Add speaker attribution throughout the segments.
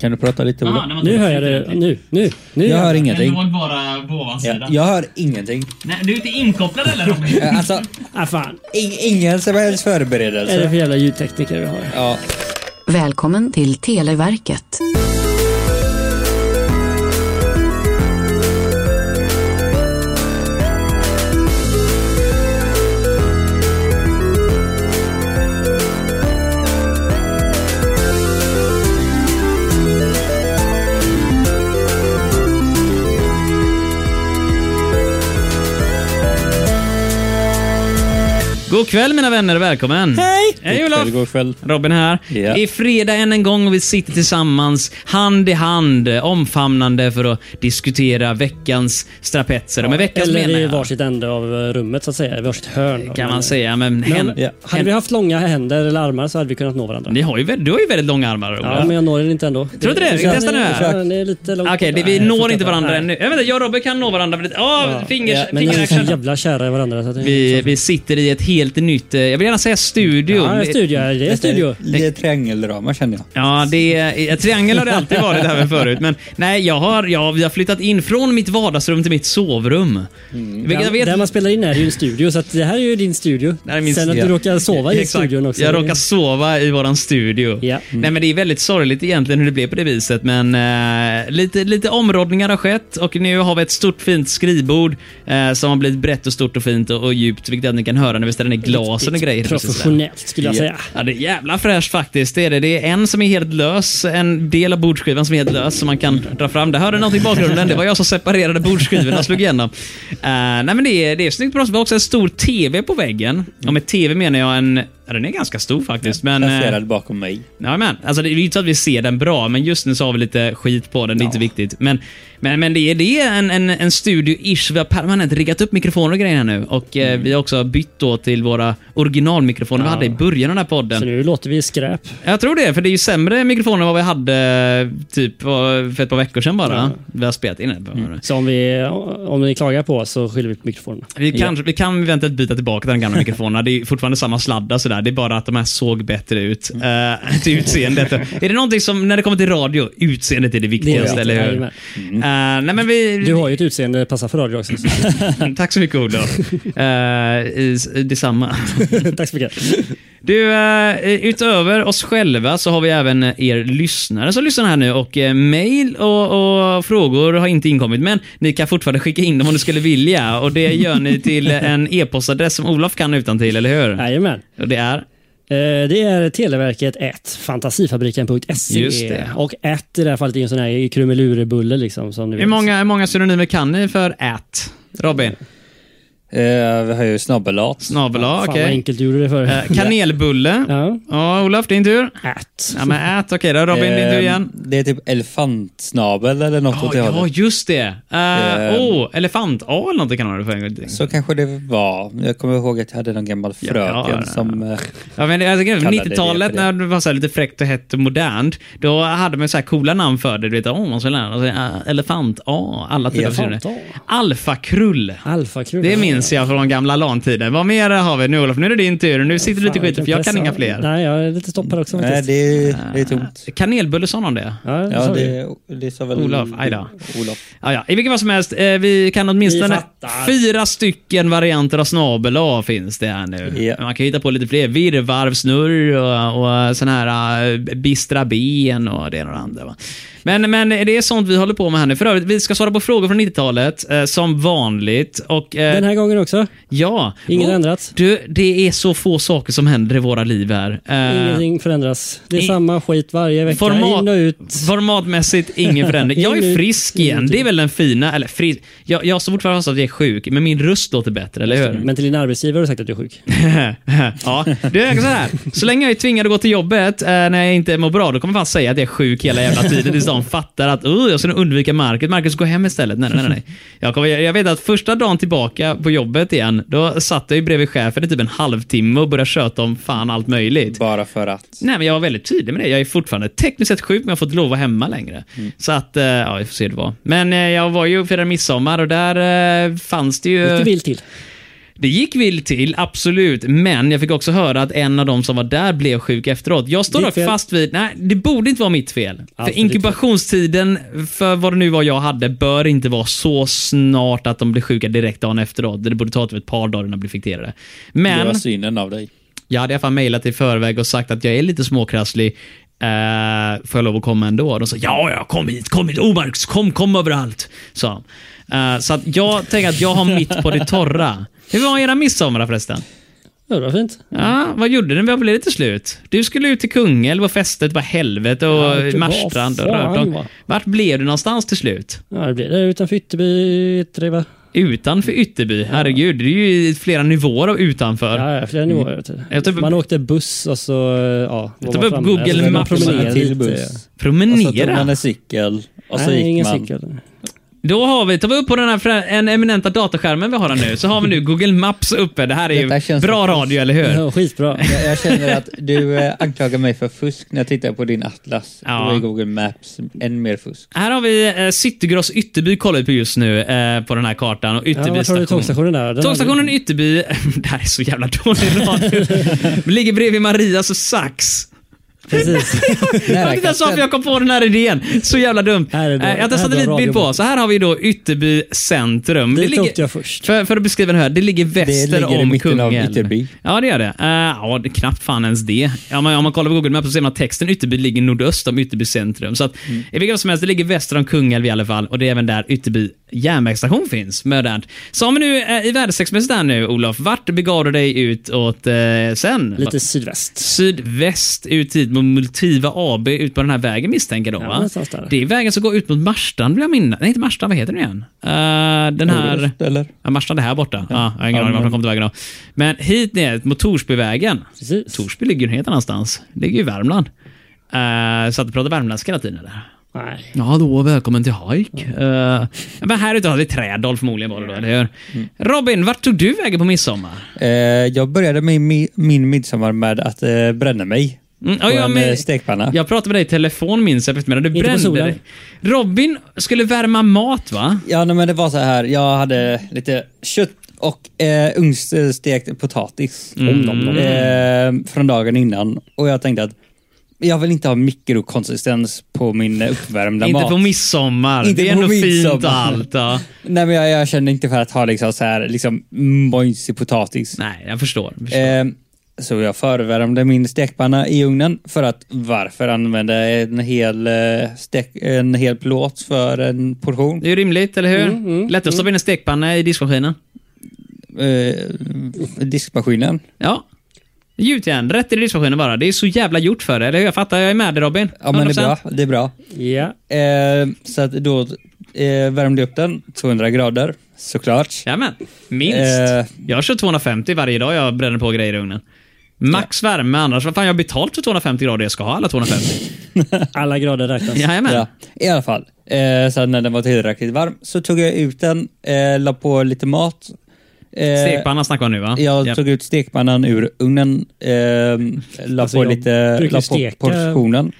Speaker 1: Kan du prata lite
Speaker 2: Jaha,
Speaker 1: Ola?
Speaker 2: nej, men
Speaker 3: Nu hör jag
Speaker 2: sitter
Speaker 3: det. Nu, nu, nu.
Speaker 1: Jag hör
Speaker 2: Jag
Speaker 1: ingenting.
Speaker 2: låg bara på ovansidan.
Speaker 1: Ja, jag hör ingenting.
Speaker 2: Nej, du är inte inkopplad eller Robin?
Speaker 1: Eh, Alltså,
Speaker 3: Ah, fan.
Speaker 1: ing- ingen som helst
Speaker 3: Vad är det
Speaker 1: förberedelse.
Speaker 3: för jävla ljudtekniker vi har?
Speaker 1: Ja.
Speaker 4: Välkommen till Televerket.
Speaker 5: God kväll mina vänner, välkommen!
Speaker 3: Hej!
Speaker 5: Hej Olof!
Speaker 1: God kväll.
Speaker 5: Robin här.
Speaker 1: Ja.
Speaker 5: Det är fredag än en gång och vi sitter tillsammans, hand i hand, omfamnande för att diskutera veckans strapetser. Med veckans
Speaker 3: Eller
Speaker 5: menar
Speaker 3: i
Speaker 5: jag,
Speaker 3: varsitt ände av eh, rummet så att säga. I varsitt hörn.
Speaker 5: kan man säga. Men,
Speaker 3: Men,
Speaker 5: hen,
Speaker 1: Ja.
Speaker 3: Hade vi haft långa händer eller armar så hade vi kunnat nå varandra.
Speaker 5: ni har ju, vä- du har ju väldigt långa armar Ola.
Speaker 3: Ja, men jag når den inte ändå.
Speaker 5: Tror du det? Vi testar nu här.
Speaker 3: Ja, den är lite långt
Speaker 5: Okej, det-
Speaker 3: borta.
Speaker 5: vi
Speaker 3: Nej,
Speaker 5: når
Speaker 3: fortsätt
Speaker 5: inte
Speaker 3: bara.
Speaker 5: varandra
Speaker 3: Nej.
Speaker 5: ännu. Jag vet inte, jag och Robin kan nå varandra. väldigt- Åh, fingers,
Speaker 1: Ja,
Speaker 3: Men vi är så
Speaker 5: fingeraction.
Speaker 3: jävla kära i varandra. Så att det- liksom-
Speaker 5: Vi, vi sitter i ett helt nytt, eh, jag vill gärna säga studio.
Speaker 3: Ja, studio. ja, Det är studio.
Speaker 1: Det är triangeldrama känner jag.
Speaker 5: Ja, det är, triangel har det alltid varit även förut. Men nej, jag har, jag, vi har flyttat in från mitt vardagsrum till mitt sovrum. Vilket jag
Speaker 3: Mm. Där,
Speaker 5: vet...
Speaker 3: där man spelar in är ju en studio, så att det här är ju din studio.
Speaker 5: Det här är min
Speaker 3: Sen att
Speaker 1: studio.
Speaker 3: du råkar sova i
Speaker 5: Exakt.
Speaker 3: studion också.
Speaker 5: Jag råkar sova i våran studio.
Speaker 3: Ja. Mm.
Speaker 5: Nej, men det är väldigt sorgligt egentligen hur det blev på det viset. Men eh, lite, lite områdningar har skett och nu har vi ett stort fint skrivbord eh, som har blivit brett och stort och fint och, och djupt, vilket jag ni kan höra när vi ställer ner glasen och grejer. precis där.
Speaker 3: Professionellt skulle jag
Speaker 1: Ja.
Speaker 3: säga.
Speaker 5: Ja, det är jävla fräscht faktiskt. Det är, det. det är en som är helt lös, en del av bordsskivan som är helt lös som man kan dra fram. Det hörde något i bakgrunden. Det var jag som separerade bordsskivorna och slog igenom. Eh, nej, men det är, det är snyggt på oss. Vi har också en stor TV på väggen. Och med TV menar jag en... Ja, den är ganska stor faktiskt. Men, eh,
Speaker 1: Placerad bakom mig.
Speaker 5: Ja, men, alltså, det är ju inte så att vi ser den bra, men just nu så har vi lite skit på den. Det är inte viktigt. Men, men, men det är, det är en, en, en studio-ish. Vi har permanent riggat upp mikrofoner och grejer här nu. Och eh, vi har också bytt då till våra originalmikrofoner vi hade i början av den här
Speaker 3: Så
Speaker 5: podden.
Speaker 3: nu låter vi skräp.
Speaker 5: Jag tror det, för det är ju sämre mikrofoner än vad vi hade typ vad- för ett par veckor sedan bara. Vi har spelat in det.
Speaker 3: Så om, vi, om ni klagar på oss så skyller vi på mikrofonerna.
Speaker 5: Vi, kanske, vi kan eventuellt byta tillbaka den gamla mikrofonen. Det är ju fortfarande samma sladdar sådär. Det är bara att de här såg bättre ut. eh, till utseendet. är det någonting som, när det kommer till radio, utseendet är det viktigaste,
Speaker 3: viktigt,
Speaker 5: eller hur?
Speaker 3: jajamän.
Speaker 5: Eh, nej men vi...
Speaker 3: Du har ju ett utseende som passar för radio också. så-
Speaker 5: Tack så mycket Olof. Uh, detsamma.
Speaker 3: Tack så mycket.
Speaker 5: Du, eh, utöver oss själva så har vi även eh, er lyssnare som lyssnar här nu och eh, mejl och, och frågor har inte inkommit men ni kan fortfarande skicka in dem om ni skulle vilja och det gör ni till en e-postadress som Olof kan utan till, eller hur?
Speaker 3: Jajamän.
Speaker 5: Och det är?
Speaker 3: Eh, Det är Televerket 1, fantasifabriken.se.
Speaker 5: Just det.
Speaker 3: Och 1 i det här fallet är ju en sån här krumelurebulle. Liksom, som ni
Speaker 5: Hur
Speaker 3: vet.
Speaker 5: många, hur många synonymer kan ni för at? Robin?
Speaker 1: Eh, vi har ju snabbelat.
Speaker 5: Snabel A,
Speaker 3: Fan
Speaker 5: okej.
Speaker 3: vad enkelt du gjorde det för.
Speaker 5: Eh, Kanelbulle? Ja,
Speaker 3: Ja.
Speaker 5: Olof, din tur.
Speaker 3: At.
Speaker 5: Ja, men at, okej då. Robin, din tur
Speaker 1: Eh,
Speaker 5: igen.
Speaker 1: Det är typ elefantsnabel eller något åt det
Speaker 5: ja,
Speaker 1: hållet.
Speaker 5: just det. Uh,
Speaker 1: Eh,
Speaker 5: oh, elefant-A eller någonting kan det vara för en gång.
Speaker 1: Så kanske det var. Jag kommer ihåg att jag hade någon gammal fröken
Speaker 5: ja.
Speaker 1: som... eh,
Speaker 5: Ja, men alltså, jag tycker
Speaker 1: Kallade det
Speaker 5: 90-talet
Speaker 1: för det.
Speaker 5: när det var så här lite fräckt och hett och modernt. Då hade man så här coola namn för det. Du vet, oh, man skulle lära sig äh, elefant A. Alla typer av
Speaker 1: Elefant-A.
Speaker 5: personer. Alfakrull.
Speaker 3: Alfakrull.
Speaker 5: Det minns jag från gamla LAN-tiden. Vad mer har vi nu Olof? Nu är det din tur. Nu sitter du lite
Speaker 3: Fan,
Speaker 5: skit för jag kan
Speaker 3: vilken
Speaker 5: inga
Speaker 3: press.
Speaker 5: fler.
Speaker 3: Nej, jag är lite stoppad också
Speaker 1: nej,
Speaker 3: faktiskt.
Speaker 1: det är, det är tomt.
Speaker 5: Kanelbulle sa någon det?
Speaker 3: Ja, det
Speaker 1: Ja,
Speaker 3: sa vi.
Speaker 1: det, det sa väl...
Speaker 5: Olof, aj då.
Speaker 1: Olof.
Speaker 5: Ja, ja. I vilket fall som helst, eh, vi kan åtminstone...
Speaker 3: Vi fattar.
Speaker 5: fyra stycken varianter av snabel-A finns det här nu.
Speaker 1: Ja.
Speaker 5: Man kan hitta på lite fler. Virrvarv, snurr och, och sån här eh, bistra ben och det ena och det andra. Va? Men, men det är sånt vi håller på med här nu. För övrigt, vi ska svara på frågor från 90-talet, eh, som vanligt. Och, eh,
Speaker 3: Den här gången också.
Speaker 5: ja.
Speaker 3: Inget
Speaker 5: Och-
Speaker 3: ändrats.
Speaker 5: Du, det är så få saker som händer i våra liv här. Eh,
Speaker 3: Ingenting förändras. Det är
Speaker 5: i-
Speaker 3: samma skit varje vecka.
Speaker 5: Format-
Speaker 3: In och ut.
Speaker 5: Formatmässigt ingen förändring. Jag är
Speaker 3: Ingen-
Speaker 5: frisk igen. Det är väl den fina... Eller fri, jag, jag har så fortfarande fast att jag är sjuk, men min röst låter bättre, eller hur?
Speaker 3: Mm. Men till din arbetsgivare har du sagt att du är sjuk.
Speaker 5: ja, det är så här. Så länge jag är tvingad att gå till jobbet eh, när jag inte mår bra, då kommer jag fan säga att jag är sjuk hela jävla tiden tills de fattar att uh, jag ska nog undvika Marcus. Marcus, gå hem istället. Nej, nej, nej, nej. Jag, kommer, jag vet att första dagen tillbaka på jobbet igen, då satt jag ju bredvid chefen i typ en halvtimme och började köta om fan allt möjligt.
Speaker 1: Bara för att.
Speaker 5: Nej, men jag var väldigt tydlig med det. Jag är fortfarande tekniskt sett sjuk, men jag har fått lov att vara hemma längre. Så att, eh, ja, vi får se hur det var. Men eh, jag var ju och firade midsommar och där eh, fanns det ju...
Speaker 3: Mycket vill till.
Speaker 5: Det gick vill till, absolut, men jag fick också höra att en av de som var där blev sjuk efteråt. Jag står
Speaker 3: Ditt
Speaker 5: dock
Speaker 3: fel.
Speaker 5: fast vid, nej, det borde inte vara mitt fel.
Speaker 3: Allt är
Speaker 5: för
Speaker 3: ditt fel.
Speaker 5: inkubationstiden, för vad det nu var jag hade, bör inte vara så snart att de blir sjuka direkt dagen efteråt. Det borde ta typ ett par dagar innan de blir infekterade.
Speaker 1: Det var
Speaker 5: Men,
Speaker 1: synen av dig.
Speaker 5: jag hade i alla fall mejlat i förväg och sagt att jag är lite småkrasslig. Eh, får jag lov att komma ändå? De sa ja, ja, kom hit, kom hit, Omarks, kom, kom överallt. Sa han. Eh, så att jag tänker att jag har mitt på det torra. Hur var era midsommar förresten?
Speaker 3: Ja, det var fint.
Speaker 5: Ja, vad gjorde ni? Vad blev det till slut? Du skulle ut till Kungälv och festet var helvete
Speaker 3: Ja,
Speaker 5: och
Speaker 3: det var
Speaker 5: Marstrand och
Speaker 3: fan,
Speaker 5: Rödblom.
Speaker 3: va.
Speaker 5: Vart blev du någonstans till slut?
Speaker 3: Ja, det blir det. Utanför Ytterby, Yttre, va?
Speaker 5: Utanför Ytterby? Herregud, det är ju flera nivåer av utanför.
Speaker 3: Ja, ja, flera nivåer. vet du.
Speaker 5: Mm. Jag tar upp-
Speaker 3: Man åkte buss och så... Ja, var
Speaker 5: tar
Speaker 3: man
Speaker 5: upp
Speaker 3: framme.
Speaker 5: Google
Speaker 3: Så man
Speaker 5: Maps.
Speaker 3: promenerade
Speaker 1: Till
Speaker 3: lite.
Speaker 1: buss. Och så tog
Speaker 5: Promenera?
Speaker 1: man en cykel och så
Speaker 3: Nej,
Speaker 1: gick
Speaker 3: ingen
Speaker 1: man.
Speaker 3: cykel.
Speaker 5: Då har vi, tar vi upp på den här frä- en eminenta dataskärmen vi har här nu, så har vi nu Google Maps uppe. Det här är ju
Speaker 1: Detta känns
Speaker 5: bra
Speaker 1: som-
Speaker 5: radio, eller hur?
Speaker 3: Ja, skitbra.
Speaker 1: Jag, jag känner att du eh, anklagar mig för fusk när jag tittar på din atlas.
Speaker 5: Ja.
Speaker 1: Då är Google Maps än mer fusk.
Speaker 5: Här har vi eh, Citygross Ytterby kollar vi på just nu eh, på den här kartan och
Speaker 3: Ja,
Speaker 5: Ytterby
Speaker 3: vart har du
Speaker 5: station.
Speaker 3: tågstationen där? Den
Speaker 5: Tågstationen Ytterby, det här är så jävla dålig radio. Ligger bredvid Marias och Sax.
Speaker 3: hade du- Precis.
Speaker 5: Jag vet inte ens varför jag kom på den här idén. Så jävla dumt.
Speaker 3: Här är bra-
Speaker 5: Eh, jag tar
Speaker 3: här är bra
Speaker 5: satellitbild på.
Speaker 3: radio.
Speaker 5: Så här har vi då Ytterby centrum.
Speaker 3: Dit åkte jag först.
Speaker 5: För, för att beskriva det här, det ligger väster
Speaker 1: ligger i
Speaker 5: om
Speaker 1: mitten av
Speaker 5: Kungälv.
Speaker 1: Ytterby.
Speaker 5: Ja, det gör det. Eh, ja, det är knappt fan ens det. Ja, men, om man kollar på Google Maps så ser man att texten Ytterby ligger nordöst om Ytterby centrum. Så att, i vilket fall som helst, det ligger väster om Kungälv i alla fall. Och det är även där Ytterby järnvägsstation finns. Modernt. Så om vi nu eh, i väderstrecksmässigt där nu, Olof. Vart begav du dig ut åt eh, sen?
Speaker 3: Lite sydväst.
Speaker 5: sydväst ut hit mot Multiva AB ut på den här vägen misstänker de
Speaker 3: Ja,
Speaker 5: va?
Speaker 3: någonstans där.
Speaker 5: Det är vägen som går ut mot Marstrand vill jag minnas. Nej inte Marstrand, vad heter den igen? Eh, den här...
Speaker 1: Nordöst, Eller?
Speaker 5: Ja, Marstrand är här borta. Ja. jag har
Speaker 1: Ja,
Speaker 5: ingen aning om
Speaker 1: men-
Speaker 5: varför de kom till vägen då. Men hit ner mot Torsbyvägen.
Speaker 3: Precis.
Speaker 5: Torsby ligger ju helt annanstans. Det ligger ju i Värmland. Eh, så att du pratar värmländska hela tiden eller?
Speaker 3: Nej.
Speaker 5: Ja då, välkommen till hajk. Eh, men här ute har vi Trädal förmodligen var det då, eller hur? Robin, vart tog du vägen på midsommar?
Speaker 1: Eh, jag började min, mi- min midsommar med att eh, bränna mig.
Speaker 5: Mm, ja,
Speaker 1: på
Speaker 5: ja,
Speaker 1: en
Speaker 5: men-
Speaker 1: eh, stekpanna.
Speaker 5: Jag pratade med dig i telefon minns jag på eftermiddagen. Du
Speaker 3: Inte på
Speaker 5: brände
Speaker 3: solen.
Speaker 5: dig. Robin skulle värma mat va?
Speaker 1: Ja, nej, men det var så här. Jag hade lite kött och eh, ugnsstekt potatis
Speaker 5: Mm.
Speaker 1: eh, från dagen innan. Och jag tänkte att jag vill inte ha mikrokonsistens på min uppvärmda
Speaker 5: Inte
Speaker 1: mat.
Speaker 5: på midsommar.
Speaker 1: Inte
Speaker 5: det är
Speaker 1: på
Speaker 5: ändå fint
Speaker 1: midsommar.
Speaker 5: och allt. Ja.
Speaker 1: Nej, men jag, jag kände inte för att ha liksom så här, liksom mojsig potatis.
Speaker 5: Nej, jag förstår. Jag förstår.
Speaker 1: Eh, så jag förvärmde min stekpanna i ugnen för att varför använda en hel, eh, stek, en hel plåt för en portion?
Speaker 5: Det är ju rimligt, eller hur?
Speaker 1: Mm,
Speaker 5: Lätt att stoppa in en stekpanna i diskmaskinen.
Speaker 1: Eh, diskmaskinen.
Speaker 5: Ja. Gjutjärn, rätt in i diskmaskinen bara. Det är så jävla gjort för det, eller hur? Jag fattar, jag är med dig Robin.
Speaker 1: Ja, men det
Speaker 5: 100%.
Speaker 1: är bra. Det är bra.
Speaker 3: Ja.
Speaker 1: Eh, så att då eh, värmde jag upp den 200 grader såklart.
Speaker 5: Jajamän, minst.
Speaker 1: Eh.
Speaker 5: Jag kör 250 varje dag jag bränner på grejer i ugnen. Max värme, annars vad fan, jag har betalt för 250 grader, jag ska ha alla 250.
Speaker 3: Alla grader räknas.
Speaker 5: Jajamän.
Speaker 1: Ja, I alla fall. Eh, sen när den var tillräckligt varm så tog jag ut den, eh, la på lite mat. Eh,
Speaker 5: Stekpanna snackar vi nu va?
Speaker 1: Jag
Speaker 5: Ja.
Speaker 1: tog ut stekpannan ur ugnen, ehm, la
Speaker 3: Alltså,
Speaker 1: på
Speaker 3: jag
Speaker 1: lite
Speaker 3: brukar
Speaker 1: la på
Speaker 3: steka-
Speaker 1: portionen.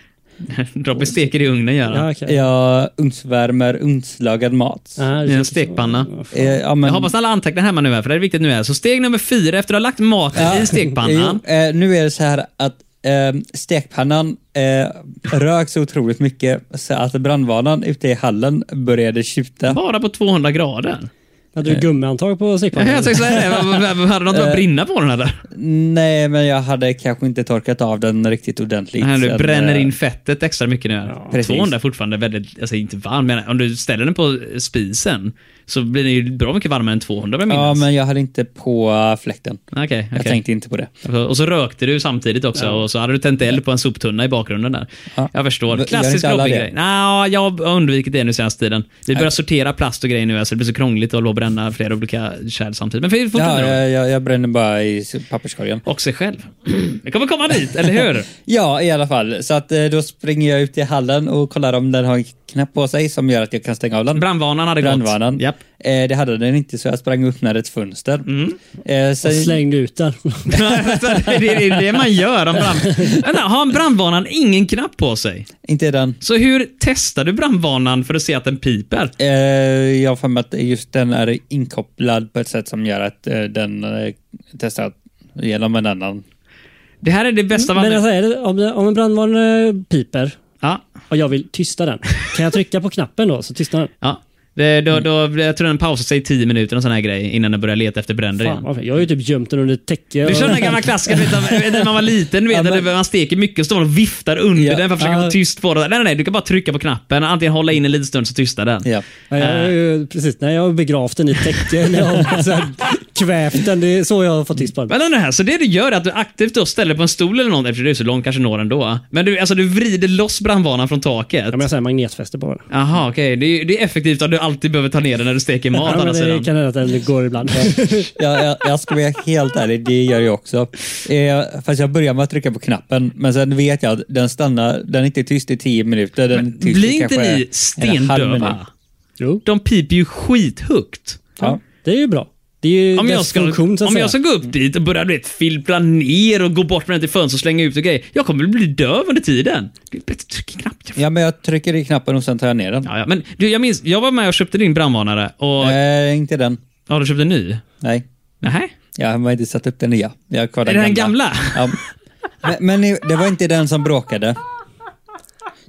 Speaker 5: Droppe steker i ugnen gör han.
Speaker 3: Ja, okej.
Speaker 1: Jag ugnsvärmer ugnslagad mat.
Speaker 3: Ah, det
Speaker 5: I en
Speaker 3: känns
Speaker 5: stekpanna.
Speaker 3: som-
Speaker 1: Eh, ja, men,
Speaker 5: Jag hoppas alla antecknar hemma nu här, för det är viktigt nu här. Så steg nummer fyra, efter att du har lagt maten i stekpannan.
Speaker 1: Jo, eh, nu är det så här att ehm, stekpannan eh, rök så otroligt mycket så att brandvarnaren ute i hallen började tjuta.
Speaker 5: Bara på 200 grader.
Speaker 3: Hade du gummihandtag på
Speaker 5: Ja,
Speaker 3: stekpannan?
Speaker 5: Jag tänkte säga det. Vad- vad- vad- Hade något
Speaker 1: Eh,
Speaker 5: att brinna på den här där?
Speaker 1: Nej, men jag hade kanske inte torkat av den riktigt ordentligt.
Speaker 5: Nej, Du
Speaker 1: Sen,
Speaker 5: bränner
Speaker 1: eh,
Speaker 5: in fettet extra mycket nu. här.
Speaker 1: precis.
Speaker 5: 200 är fortfarande väldigt, alltså inte varm, men om du ställer den på spisen så blir den ju bra mycket varmare än 200 vill jag
Speaker 1: Ja,
Speaker 5: minnas.
Speaker 1: men jag hade inte på eh, fläkten.
Speaker 5: Okej,
Speaker 1: Jag
Speaker 5: okej.
Speaker 1: tänkte inte på det.
Speaker 5: Och så rökte du samtidigt också och så hade du tänt eld på en soptunna i bakgrunden där.
Speaker 1: Ja.
Speaker 5: Jag förstår.
Speaker 1: Gör
Speaker 5: Klassisk
Speaker 1: inte alla
Speaker 5: Robin-grej.
Speaker 1: det?
Speaker 5: Nja, jag har undvikit det nu senaste tiden. Vi börjar sortera plast och grejer nu, så det blir så krångligt att hålla på och bränna flera olika kärl samtidigt. Men för-
Speaker 1: Ja,
Speaker 5: fortfarande
Speaker 1: jag, jag, jag bränner bara i papperskorgen.
Speaker 5: Och sig själv. Vi kommer komma dit, eller hur?
Speaker 1: Ja, i alla fall. Så att eh, då springer jag ut i hallen och kollar om den har knapp på sig som gör att jag kan stänga av den.
Speaker 5: Brandvarnaren hade
Speaker 1: Brandvarnaren.
Speaker 5: gått. Japp.
Speaker 1: Eh, det hade den inte, så jag sprang och öppnade ett fönster. Eh,
Speaker 3: Och
Speaker 1: sen,
Speaker 3: slängde ut den.
Speaker 5: det är det man gör. Om brand... Vänta, har en brandvarnaren ingen knapp på sig?
Speaker 1: inte den.
Speaker 5: Så hur testar du brandvarnaren för att se att den piper?
Speaker 1: Eh, jag har för mig att just den är inkopplad på ett sätt som gör att eh, den eh, testar att genom en annan.
Speaker 5: Det här är det bästa man...
Speaker 3: Men alltså, är det, om, det- om en brandvarnare piper
Speaker 5: Ja,
Speaker 3: och jag vill tysta den, kan jag trycka på knappen då så tystnar den?
Speaker 5: ja. Det, då, då, jag tror den pausar sig i 10 minuter, en sån här grej, innan den börjar leta efter bränder
Speaker 3: Fan,
Speaker 5: igen.
Speaker 3: vad fint. jag har ju typ gömt den under ett täcke.
Speaker 5: Du
Speaker 3: och-
Speaker 5: kör den här gamla klassiken, vet du, vet du, när man var liten, du vet,
Speaker 3: Ja, men-
Speaker 5: eller man steker mycket och står och viftar under
Speaker 1: Ja.
Speaker 5: den för att försöka
Speaker 3: Ja.
Speaker 5: få tyst på det. Nej, nej, nej, du kan bara trycka på knappen, antingen hålla in en liten stund så tystnar den.
Speaker 1: Ja.
Speaker 3: Ja, jag, har ju- precis, nej, jag har begravt den i ett täcke. när Jag har så här kvävt den. Det är så jag har fått tyst på den.
Speaker 5: Men det här, så det du gör är att du aktivt då ställer på en stol eller något, eftersom du är så lång kanske når den då. Men du, alltså, du vrider loss brandvarnaren från taket.
Speaker 3: Ja, men jag har så här magnetfäste på den.
Speaker 5: Jaha, okej. Det, är- det är effektivt att du alltid behöver ta ner den när du steker mat. å
Speaker 3: Ja,
Speaker 5: andra
Speaker 3: men det
Speaker 5: sidan.
Speaker 3: kan hända att den går ibland.
Speaker 1: Jag, jag, jag ska vara helt ärlig, det gör jag också. Eh, fast jag börjar med att trycka på knappen, men sen vet jag att den stannar, den är inte tyst i tio minuter. Den är tyst i
Speaker 5: Blir inte
Speaker 1: kanske
Speaker 5: ni
Speaker 1: en halv minut.
Speaker 5: stendöva?
Speaker 3: Jo,
Speaker 5: De piper ju skithögt.
Speaker 1: Ja.
Speaker 3: det är ju bra. Det är ju
Speaker 5: Om jag,
Speaker 3: dess
Speaker 5: ska,
Speaker 3: funktion så att
Speaker 5: om jag ska
Speaker 3: säga.
Speaker 5: gå upp dit och börja du vet, filpla ner och gå bort med den till fönstret och slänga ut och grejer. Jag kommer bli döv under tiden. Det är bättre att trycka knappt.
Speaker 1: ja, men jag trycker i knappen och sen tar jag ner den.
Speaker 5: Ja, ja. Men du, jag minns, jag var med och köpte din brandvarnare och...
Speaker 1: Eh, inte den.
Speaker 5: Har du köpt en ny?
Speaker 1: Nej.
Speaker 5: Nähä?
Speaker 1: Jag har inte satt upp den nya. Jag har kvar
Speaker 5: Är
Speaker 1: den
Speaker 5: det den gamla?
Speaker 1: Ja. Men, men det- det var inte den som bråkade.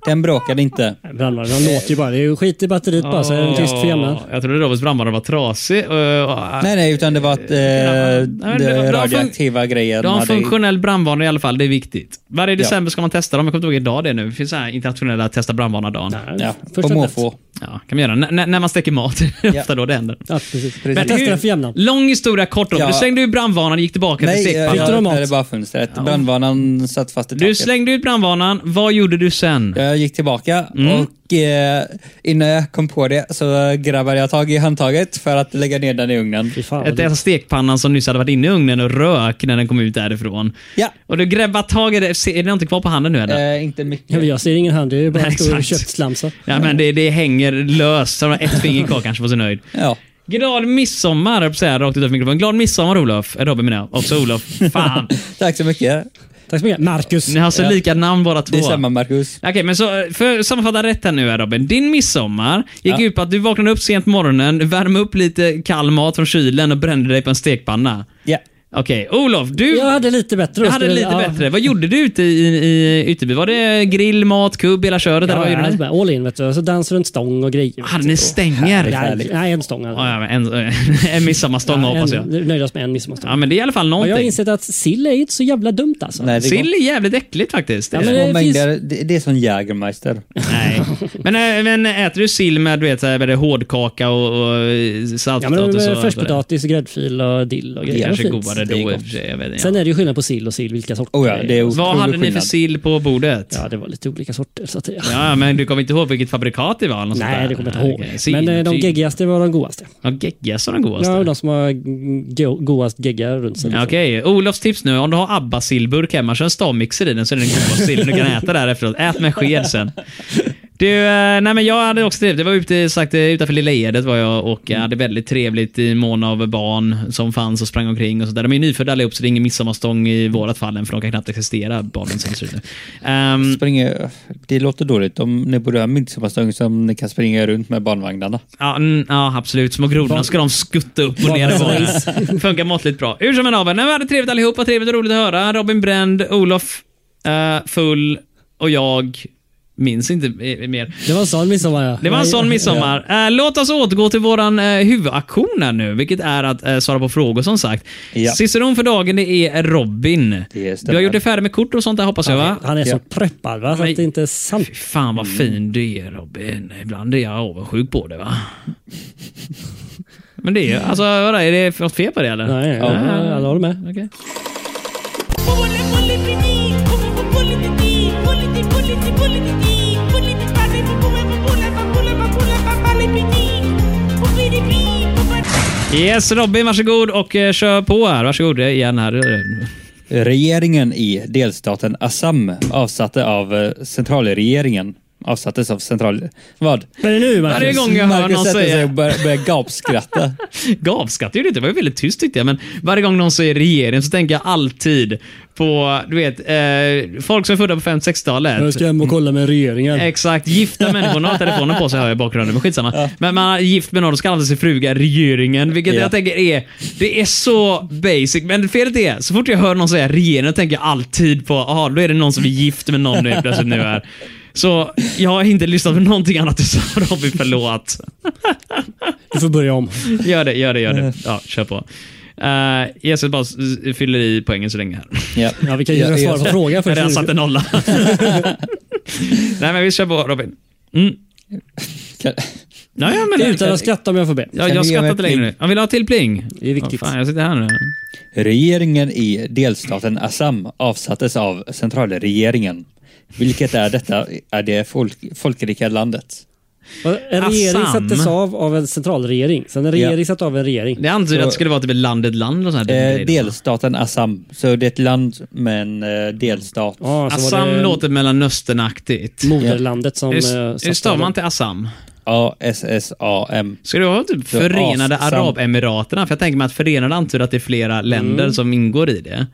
Speaker 1: Den bråkade inte.
Speaker 3: Brandvarnaren de låter ju bara. Det är ju skit i batteriet bara, så är den Alltså, tyst för jämnan.
Speaker 5: Jag trodde Roberts brandvarnare var trasig. och- och-
Speaker 1: Nej, nej, utan det var att eh,
Speaker 5: men det- de
Speaker 1: det
Speaker 5: fun-
Speaker 1: radioaktiva grejen
Speaker 5: Du har en
Speaker 1: hade...
Speaker 5: funktionell brandvarnare i alla fall, det är viktigt. Varje december ska man testa dem, jag kommer inte ihåg idag det är nu. Det finns så här internationella testa brandvarnardagen.
Speaker 1: Ja, på
Speaker 3: Första test.
Speaker 1: måfå.
Speaker 5: Ja, kan man göra. N- n- när man steker mat, det är ofta då det händer.
Speaker 3: Ja, precis.
Speaker 1: Men
Speaker 3: Men
Speaker 5: hur-
Speaker 3: testa den för jämnan.
Speaker 5: Lång historia kort då.
Speaker 1: Ja.
Speaker 5: Du slängde ut brandvarnaren, gick tillbaka till
Speaker 1: Nej, jag
Speaker 5: stekpannan.
Speaker 1: jag
Speaker 3: Bytte de mat?
Speaker 1: öppnade bara fönstret. Brandvarnaren satt fast i
Speaker 5: Du
Speaker 1: taket.
Speaker 5: slängde ut brandvarnaren, vad gjorde du sen?
Speaker 1: Jag gick tillbaka och eh, innan jag kom på det så grabbade jag tag i handtaget för att lägga ner den i ugnen.
Speaker 3: Fy fan, vad
Speaker 5: Ett,
Speaker 3: det-
Speaker 5: alltså stekpannan som nyss hade varit inne i ugnen och rök när den kom ut därifrån.
Speaker 1: Ja.
Speaker 5: Och du grebbade tag i det. Se- Är det någonting kvar på handen nu eller?
Speaker 1: Eh, inte
Speaker 3: Ja, men
Speaker 1: mycket.
Speaker 3: jag ser ingen hand. Det är ju bara
Speaker 5: Nej,
Speaker 3: en stor
Speaker 5: exakt.
Speaker 3: köttslamsa.
Speaker 5: Ja, men det, det hänger löst. Så de har ett finger kvar kanske var så nöjd.
Speaker 1: Ja.
Speaker 5: Glad midsommar, höll jag på att säga rakt utanför mikrofonen. Glad midsommar Olof. Eh, Robin menar jag. Också Olof. Fan.
Speaker 1: Tack så mycket.
Speaker 3: Tack så mycket. Marcus.
Speaker 5: Ni har så
Speaker 1: Ja.
Speaker 5: lika namn båda två.
Speaker 1: Det är samma, Marcus.
Speaker 5: Okej, men så eh, för att sammanfatta rätt här nu här Robin. Din midsommar gick ut på att du vaknade upp sent på morgonen, värmde upp lite kall mat från kylen och brände dig på en stekpanna.
Speaker 1: Ja.
Speaker 5: Okej, Olof, du
Speaker 3: Jag hade lite bättre. då,
Speaker 5: jag hade
Speaker 3: skulle-
Speaker 5: lite
Speaker 3: ja.
Speaker 5: bättre. Vad gjorde du ute i, i Ytterby? Var det grill, mat, kubb, hela köret? eller
Speaker 3: Ja,
Speaker 5: vad gjorde ni?
Speaker 3: ja, all in vet du. Så dansar runt stång och grejer.
Speaker 5: Hade ni stänger?
Speaker 3: Nej,
Speaker 5: Ja,
Speaker 1: härligt.
Speaker 3: Nej, en stång. alltså.
Speaker 5: ja, men en, en midsommarstång hoppas
Speaker 3: en-
Speaker 5: jag.
Speaker 3: Nöjdas med en midsommarstång.
Speaker 5: Ja, men det är i alla fall
Speaker 3: Och jag har
Speaker 5: någonting.
Speaker 3: insett att sill är ju inte så jävla dumt alltså.
Speaker 1: Nej, det går-
Speaker 5: Sill är jävligt äckligt faktiskt.
Speaker 3: Ja,
Speaker 5: Det är
Speaker 3: men
Speaker 5: det.
Speaker 1: Små
Speaker 3: det
Speaker 1: mängder, det, det är som Jägermeister.
Speaker 5: Nej. Men, äh, men äter du sill med du vet, så här, vad är det, hårdkaka och, och
Speaker 3: Ja, men
Speaker 5: saltpotatis?
Speaker 3: med
Speaker 5: och allt vad det är?
Speaker 3: färskpotatis, gräddfil och dill och
Speaker 5: Det
Speaker 3: grejer.
Speaker 5: kanske är
Speaker 3: Fint.
Speaker 5: godare
Speaker 1: Det är
Speaker 5: då i och
Speaker 1: gott.
Speaker 5: för sig. Jag vet inte.
Speaker 3: Sen är det ju skillnad på sill och sill, vilka sorter.
Speaker 1: Oh ja, det är
Speaker 5: Vad
Speaker 1: otrolig
Speaker 5: hade ni för
Speaker 1: skillnad.
Speaker 5: sill på bordet? Ja.
Speaker 3: Ja, det var lite olika sorter. Så att, ja.
Speaker 5: men du kommer inte ihåg vilket fabrikat det var? eller något sånt
Speaker 3: Nej,
Speaker 5: där?
Speaker 3: det kommer jag
Speaker 5: Nej,
Speaker 3: inte
Speaker 5: okej.
Speaker 3: ihåg.
Speaker 5: Sill,
Speaker 3: Men eh, de
Speaker 5: sill.
Speaker 3: geggigaste var de godaste.
Speaker 5: Ja, geggiga som den godaste.
Speaker 3: Ja, de som har go- godast gegga runt sig.
Speaker 5: Ja,
Speaker 3: liksom.
Speaker 5: Okej, Olofs tips nu. Om du har ABBA-sillburk hemma, kör en stavmixer i den så är det en god sill du kan äta där efteråt. Ät med sked sen. Du, eh, nej men jag hade också trevligt. Jag var ute, sagt, eh, utanför Lilla Edet var jag och jag hade väldigt trevligt i mån av barn som fanns och sprang omkring och sådär. De är ju nyfödda allihop så det är ingen midsommarstång i vårat fall än för de kan knappt existera, barnen som ser ut nu. Ehm,
Speaker 1: Springer, det låter dåligt. Om ni borde ha en midsommarstång som ni kan springa runt med barnvagnarna.
Speaker 5: Ja, mm, ja absolut. Små grodorna ska de skutta upp och ner i våren. Funkar måttligt bra. Hur som en av Vi hade trevligt allihopa. Trevligt och roligt att höra. Robin bränd, Olof eh, full och jag minns inte eh, mer.
Speaker 3: Det var en sån midsommar ja.
Speaker 5: Det var en
Speaker 3: Nej,
Speaker 5: sån midsommar. Eh, låt oss återgå till våran eh, huvudaktion här nu, vilket är att eh, svara på frågor som sagt.
Speaker 1: Ja.
Speaker 5: Ciceron för dagen, det är Robin.
Speaker 1: Det stämmer.
Speaker 5: du har gjort dig färdig med kort och sånt där hoppas jag va?
Speaker 3: Han är så
Speaker 1: Ja.
Speaker 3: preppad va, så
Speaker 5: Nej.
Speaker 3: att det inte är sant.
Speaker 5: Fy fan vad fin du är Robin. Ibland är jag avundsjuk på det va? Men det är ju, alltså vadå, är det något fel på det eller?
Speaker 3: Nej, ja, alla håller med.
Speaker 5: Okej. Yes Robin, varsågod och eh, kör på här. Varsågod eh, igen här.
Speaker 1: Regeringen i delstaten Assam avsatte av eh, centralregeringen avsattes av central... Vad?
Speaker 3: Vad är det nu Marcus?
Speaker 5: Varje gång jag hör
Speaker 1: Marcus
Speaker 5: någon
Speaker 1: sätter sig
Speaker 5: säga-
Speaker 1: och börjar, börjar gapskratta.
Speaker 5: Gapskratt gjorde det inte, det var ju väldigt tyst tyckte jag. Men varje gång någon säger regering så tänker jag alltid på, du vet, eh, folk som är födda på 50-60-talet.
Speaker 3: Jag ska hem och kolla med regeringen.
Speaker 5: Exakt, gifta människor. Nu har telefonen på sig hör jag i bakgrunden, men skitsamma. Men man är gift med någon och ska alltid se fruga regeringen, vilket
Speaker 1: Ja.
Speaker 5: jag tänker är... Det är så basic, men felet är, så fort jag hör någon säga regeringen tänker jag alltid på, aha, då är det någon som är gift med någon nu plötsligt nu här. Så jag har inte lyssnat på någonting annat du sa Robin, förlåt.
Speaker 3: Du får börja om.
Speaker 5: Gör det, gör det, gör det. Ja, kör på. Uh, Jesus bara s- fyller i poängen så länge här.
Speaker 1: Ja.
Speaker 3: Ja, vi kan ju
Speaker 1: Ja,
Speaker 3: svara
Speaker 1: ja.
Speaker 3: på frågan
Speaker 5: Jag har
Speaker 3: först.
Speaker 5: redan satt en nolla. Nej men vi kör på Robin. Mm.
Speaker 1: Kan-
Speaker 5: Nej, men
Speaker 3: Utan att skratta om jag får be.
Speaker 5: Ja,
Speaker 1: Kan
Speaker 5: jag
Speaker 1: du ge
Speaker 5: skrattar
Speaker 1: mig
Speaker 5: inte
Speaker 1: ett
Speaker 5: längre
Speaker 1: pling?
Speaker 5: nu. Han vill ha till pling.
Speaker 3: Det är viktigt.
Speaker 5: Vad fan, jag sitter här nu.
Speaker 1: Regeringen i delstaten Assam avsattes av centralregeringen. Vilket är detta, är det folk, folkrika landet.
Speaker 3: Och En regering
Speaker 5: Assam.
Speaker 3: sattes av av en centralregering. Sen en regering satt av en regering.
Speaker 5: Det antyder att det skulle vara typ ett landet land och sådana här
Speaker 1: Eh,
Speaker 5: grejer.
Speaker 1: delstaten Assam, så det är ett land med en eh, delstat.
Speaker 3: Ja, så alltså, var
Speaker 5: Assam
Speaker 3: det
Speaker 5: låter mellanösternaktigt.
Speaker 3: Moderlandet som...
Speaker 5: Hur s-
Speaker 3: eh,
Speaker 5: Hur
Speaker 3: satt
Speaker 5: stavar
Speaker 3: av
Speaker 5: man
Speaker 3: dem.
Speaker 5: till Assam?
Speaker 1: A-S-S-A-M.
Speaker 5: Ska det vara typ
Speaker 1: Så
Speaker 5: Förenade
Speaker 1: Assam.
Speaker 5: Arabemiraterna? För jag tänker mig att Förenade antyder att det är flera länder som ingår i det.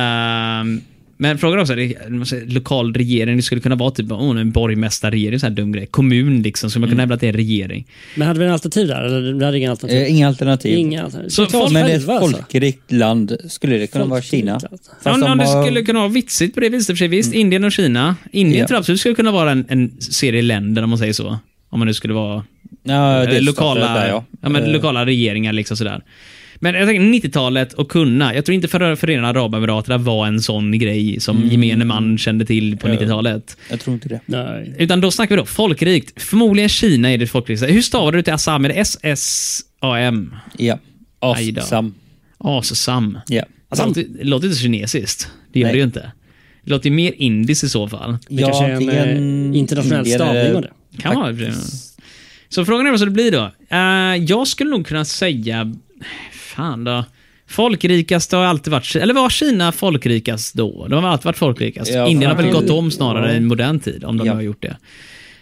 Speaker 5: Ehm, men frågan är också, det är, man säger, lokal regering, det skulle kunna vara typ oh, en borgmästarregering, sån här dum grej. Kommun liksom, skulle man kunna hävda att det är en regering.
Speaker 3: Men hade vi en alternativ där? Eller vi hade inga alternativ?
Speaker 1: Eh, inga alternativ.
Speaker 3: Inga alternativ.
Speaker 5: Så
Speaker 3: Så
Speaker 5: folk-
Speaker 1: Men det är ett
Speaker 3: själva, alltså.
Speaker 1: folkrikt land. Skulle det kunna vara
Speaker 3: Folkrikt
Speaker 1: Kina?
Speaker 3: land.
Speaker 5: Ja,
Speaker 1: Fast de
Speaker 5: men det
Speaker 1: har- Mm.
Speaker 5: skulle kunna vara vitsigt på det viset. i och för sig. Visst, Indien och Kina. Indien
Speaker 1: Ja.
Speaker 5: tror jag absolut skulle kunna vara en, en serie länder om man säger så. Om man nu skulle vara
Speaker 1: Ja,
Speaker 5: eh,
Speaker 1: delstater
Speaker 5: lokala,
Speaker 1: Där,
Speaker 5: ja.
Speaker 1: ja.
Speaker 5: men,
Speaker 1: Eh,
Speaker 5: lokala regeringar. liksom sådär. Men jag tänker 90-talet och kunna. Jag tror inte för Förenade Arabemiraterna var en sån grej som
Speaker 1: Mm.
Speaker 5: gemene man kände till på 90-talet.
Speaker 1: Jag tror inte det.
Speaker 3: Nej.
Speaker 5: Utan då snackar vi då folkrikt. Förmodligen Kina är det folkrikta. Hur stavar du till Assam? Är det S-S-A-M?
Speaker 1: Ja.
Speaker 5: Aj då.
Speaker 1: Assam.
Speaker 5: Assam.
Speaker 1: Ja.
Speaker 5: Alltså, det låter- det låter inte så kinesiskt. Det gör
Speaker 1: Nej.
Speaker 5: det ju inte. Det låter ju mer indiskt i så fall.
Speaker 3: Det
Speaker 1: Ja,
Speaker 3: kanske är en
Speaker 1: antingen
Speaker 3: eh, internationell
Speaker 1: indier
Speaker 3: stavning
Speaker 1: eller-
Speaker 3: av det.
Speaker 5: Kan vara. Så frågan är vad det blir då. Eh, jag skulle nog kunna säga... Fan då. Folkrikast har alltid varit... Eller var Kina folkrikast då? De har alltid varit folkrikast.
Speaker 1: Ja,
Speaker 5: Indien har väl
Speaker 1: fan.
Speaker 5: gått om snarare i modern tid, om de
Speaker 1: Ja.
Speaker 5: har gjort det.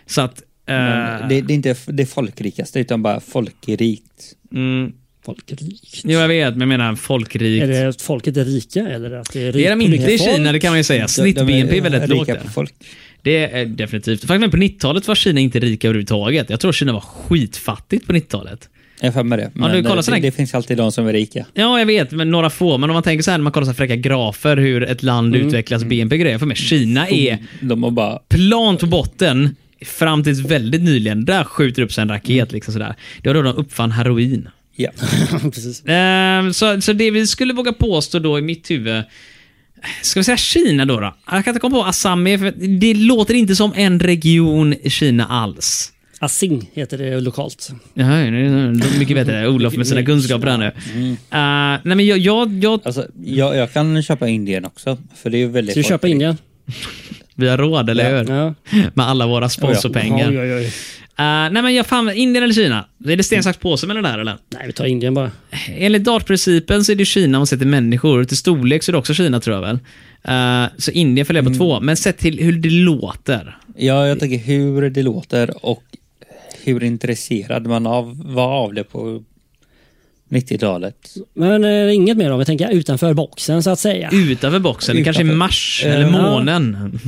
Speaker 5: Så att... eh,
Speaker 1: Men det, det är inte det folkrikaste, utan bara folkrikt.
Speaker 5: mm,
Speaker 3: Folkrikt.
Speaker 5: jo, jag vet, men jag menar folkrikt.
Speaker 3: Är det att folket är rika eller att det är
Speaker 5: Det är
Speaker 3: rikt
Speaker 5: de
Speaker 3: på
Speaker 5: inte i
Speaker 3: mycket folk?
Speaker 5: Kina, det kan man ju säga. Snitt-BNP är väldigt lågt
Speaker 1: rika
Speaker 5: där.
Speaker 1: på folk.
Speaker 5: Det är definitivt. Faktum är på 90-talet var Kina inte rika överhuvudtaget. Jag tror Kina var skitfattigt på 90-talet.
Speaker 1: Jag har för mig det. Men
Speaker 5: du kollar
Speaker 1: eh,
Speaker 5: sådana-
Speaker 1: det, det finns alltid de som är rika.
Speaker 5: Ja, jag vet, men några få. Men om man tänker så här när man kollar så här fräcka grafer hur ett land utvecklas, BNP och grejer. För mig, Kina är
Speaker 1: De och bara...
Speaker 5: plant på botten fram tills väldigt nyligen. Där skjuter upp sig en raket. Liksom sådär. Det var då de uppfann heroin.
Speaker 1: Ja.
Speaker 3: Precis.
Speaker 5: Ehm, så, så det vi skulle våga påstå då i mitt huvud Ska vi säga Kina då? då? Jag kan inte komma på Assam, för det låter inte som en region i Kina alls.
Speaker 3: Asing heter det lokalt.
Speaker 5: Jaha, nu- nu- nu- mycket bättre. Olof med sina kunskaper här nu.
Speaker 3: Mm.
Speaker 5: Eh, nej men jag, jag, jag,
Speaker 1: Alltså, jag, jag kan köpa Indien också, för det är ju väldigt...
Speaker 3: Ska vi köpa
Speaker 1: folkrikt.
Speaker 3: Indien?
Speaker 5: vi har råd, eller hur?
Speaker 3: Ja.
Speaker 5: Med alla våra sponsorpengar.
Speaker 3: Oj, oj, oj.
Speaker 5: Eh, nej men jag fan, Indien eller Kina? Är det sten, sax, påse mellan det här eller?
Speaker 3: Nej, vi tar Indien bara.
Speaker 5: Enligt dartprincipen så är det Kina om man sätter människor. Till storlek så är det också Kina tror jag väl. Eh, så Indien följer på
Speaker 3: Mm.
Speaker 5: två. Men sett till hur det låter.
Speaker 1: Ja, jag tänker hur det låter och hur intresserad man av, var av det på 90-talet.
Speaker 3: Men eh, inget mer om vi tänker utanför boxen så att säga.
Speaker 5: Utanför boxen. Det kanske är
Speaker 1: Utanför.
Speaker 5: Mars
Speaker 1: Eh,
Speaker 5: eller
Speaker 1: ja.
Speaker 5: månen.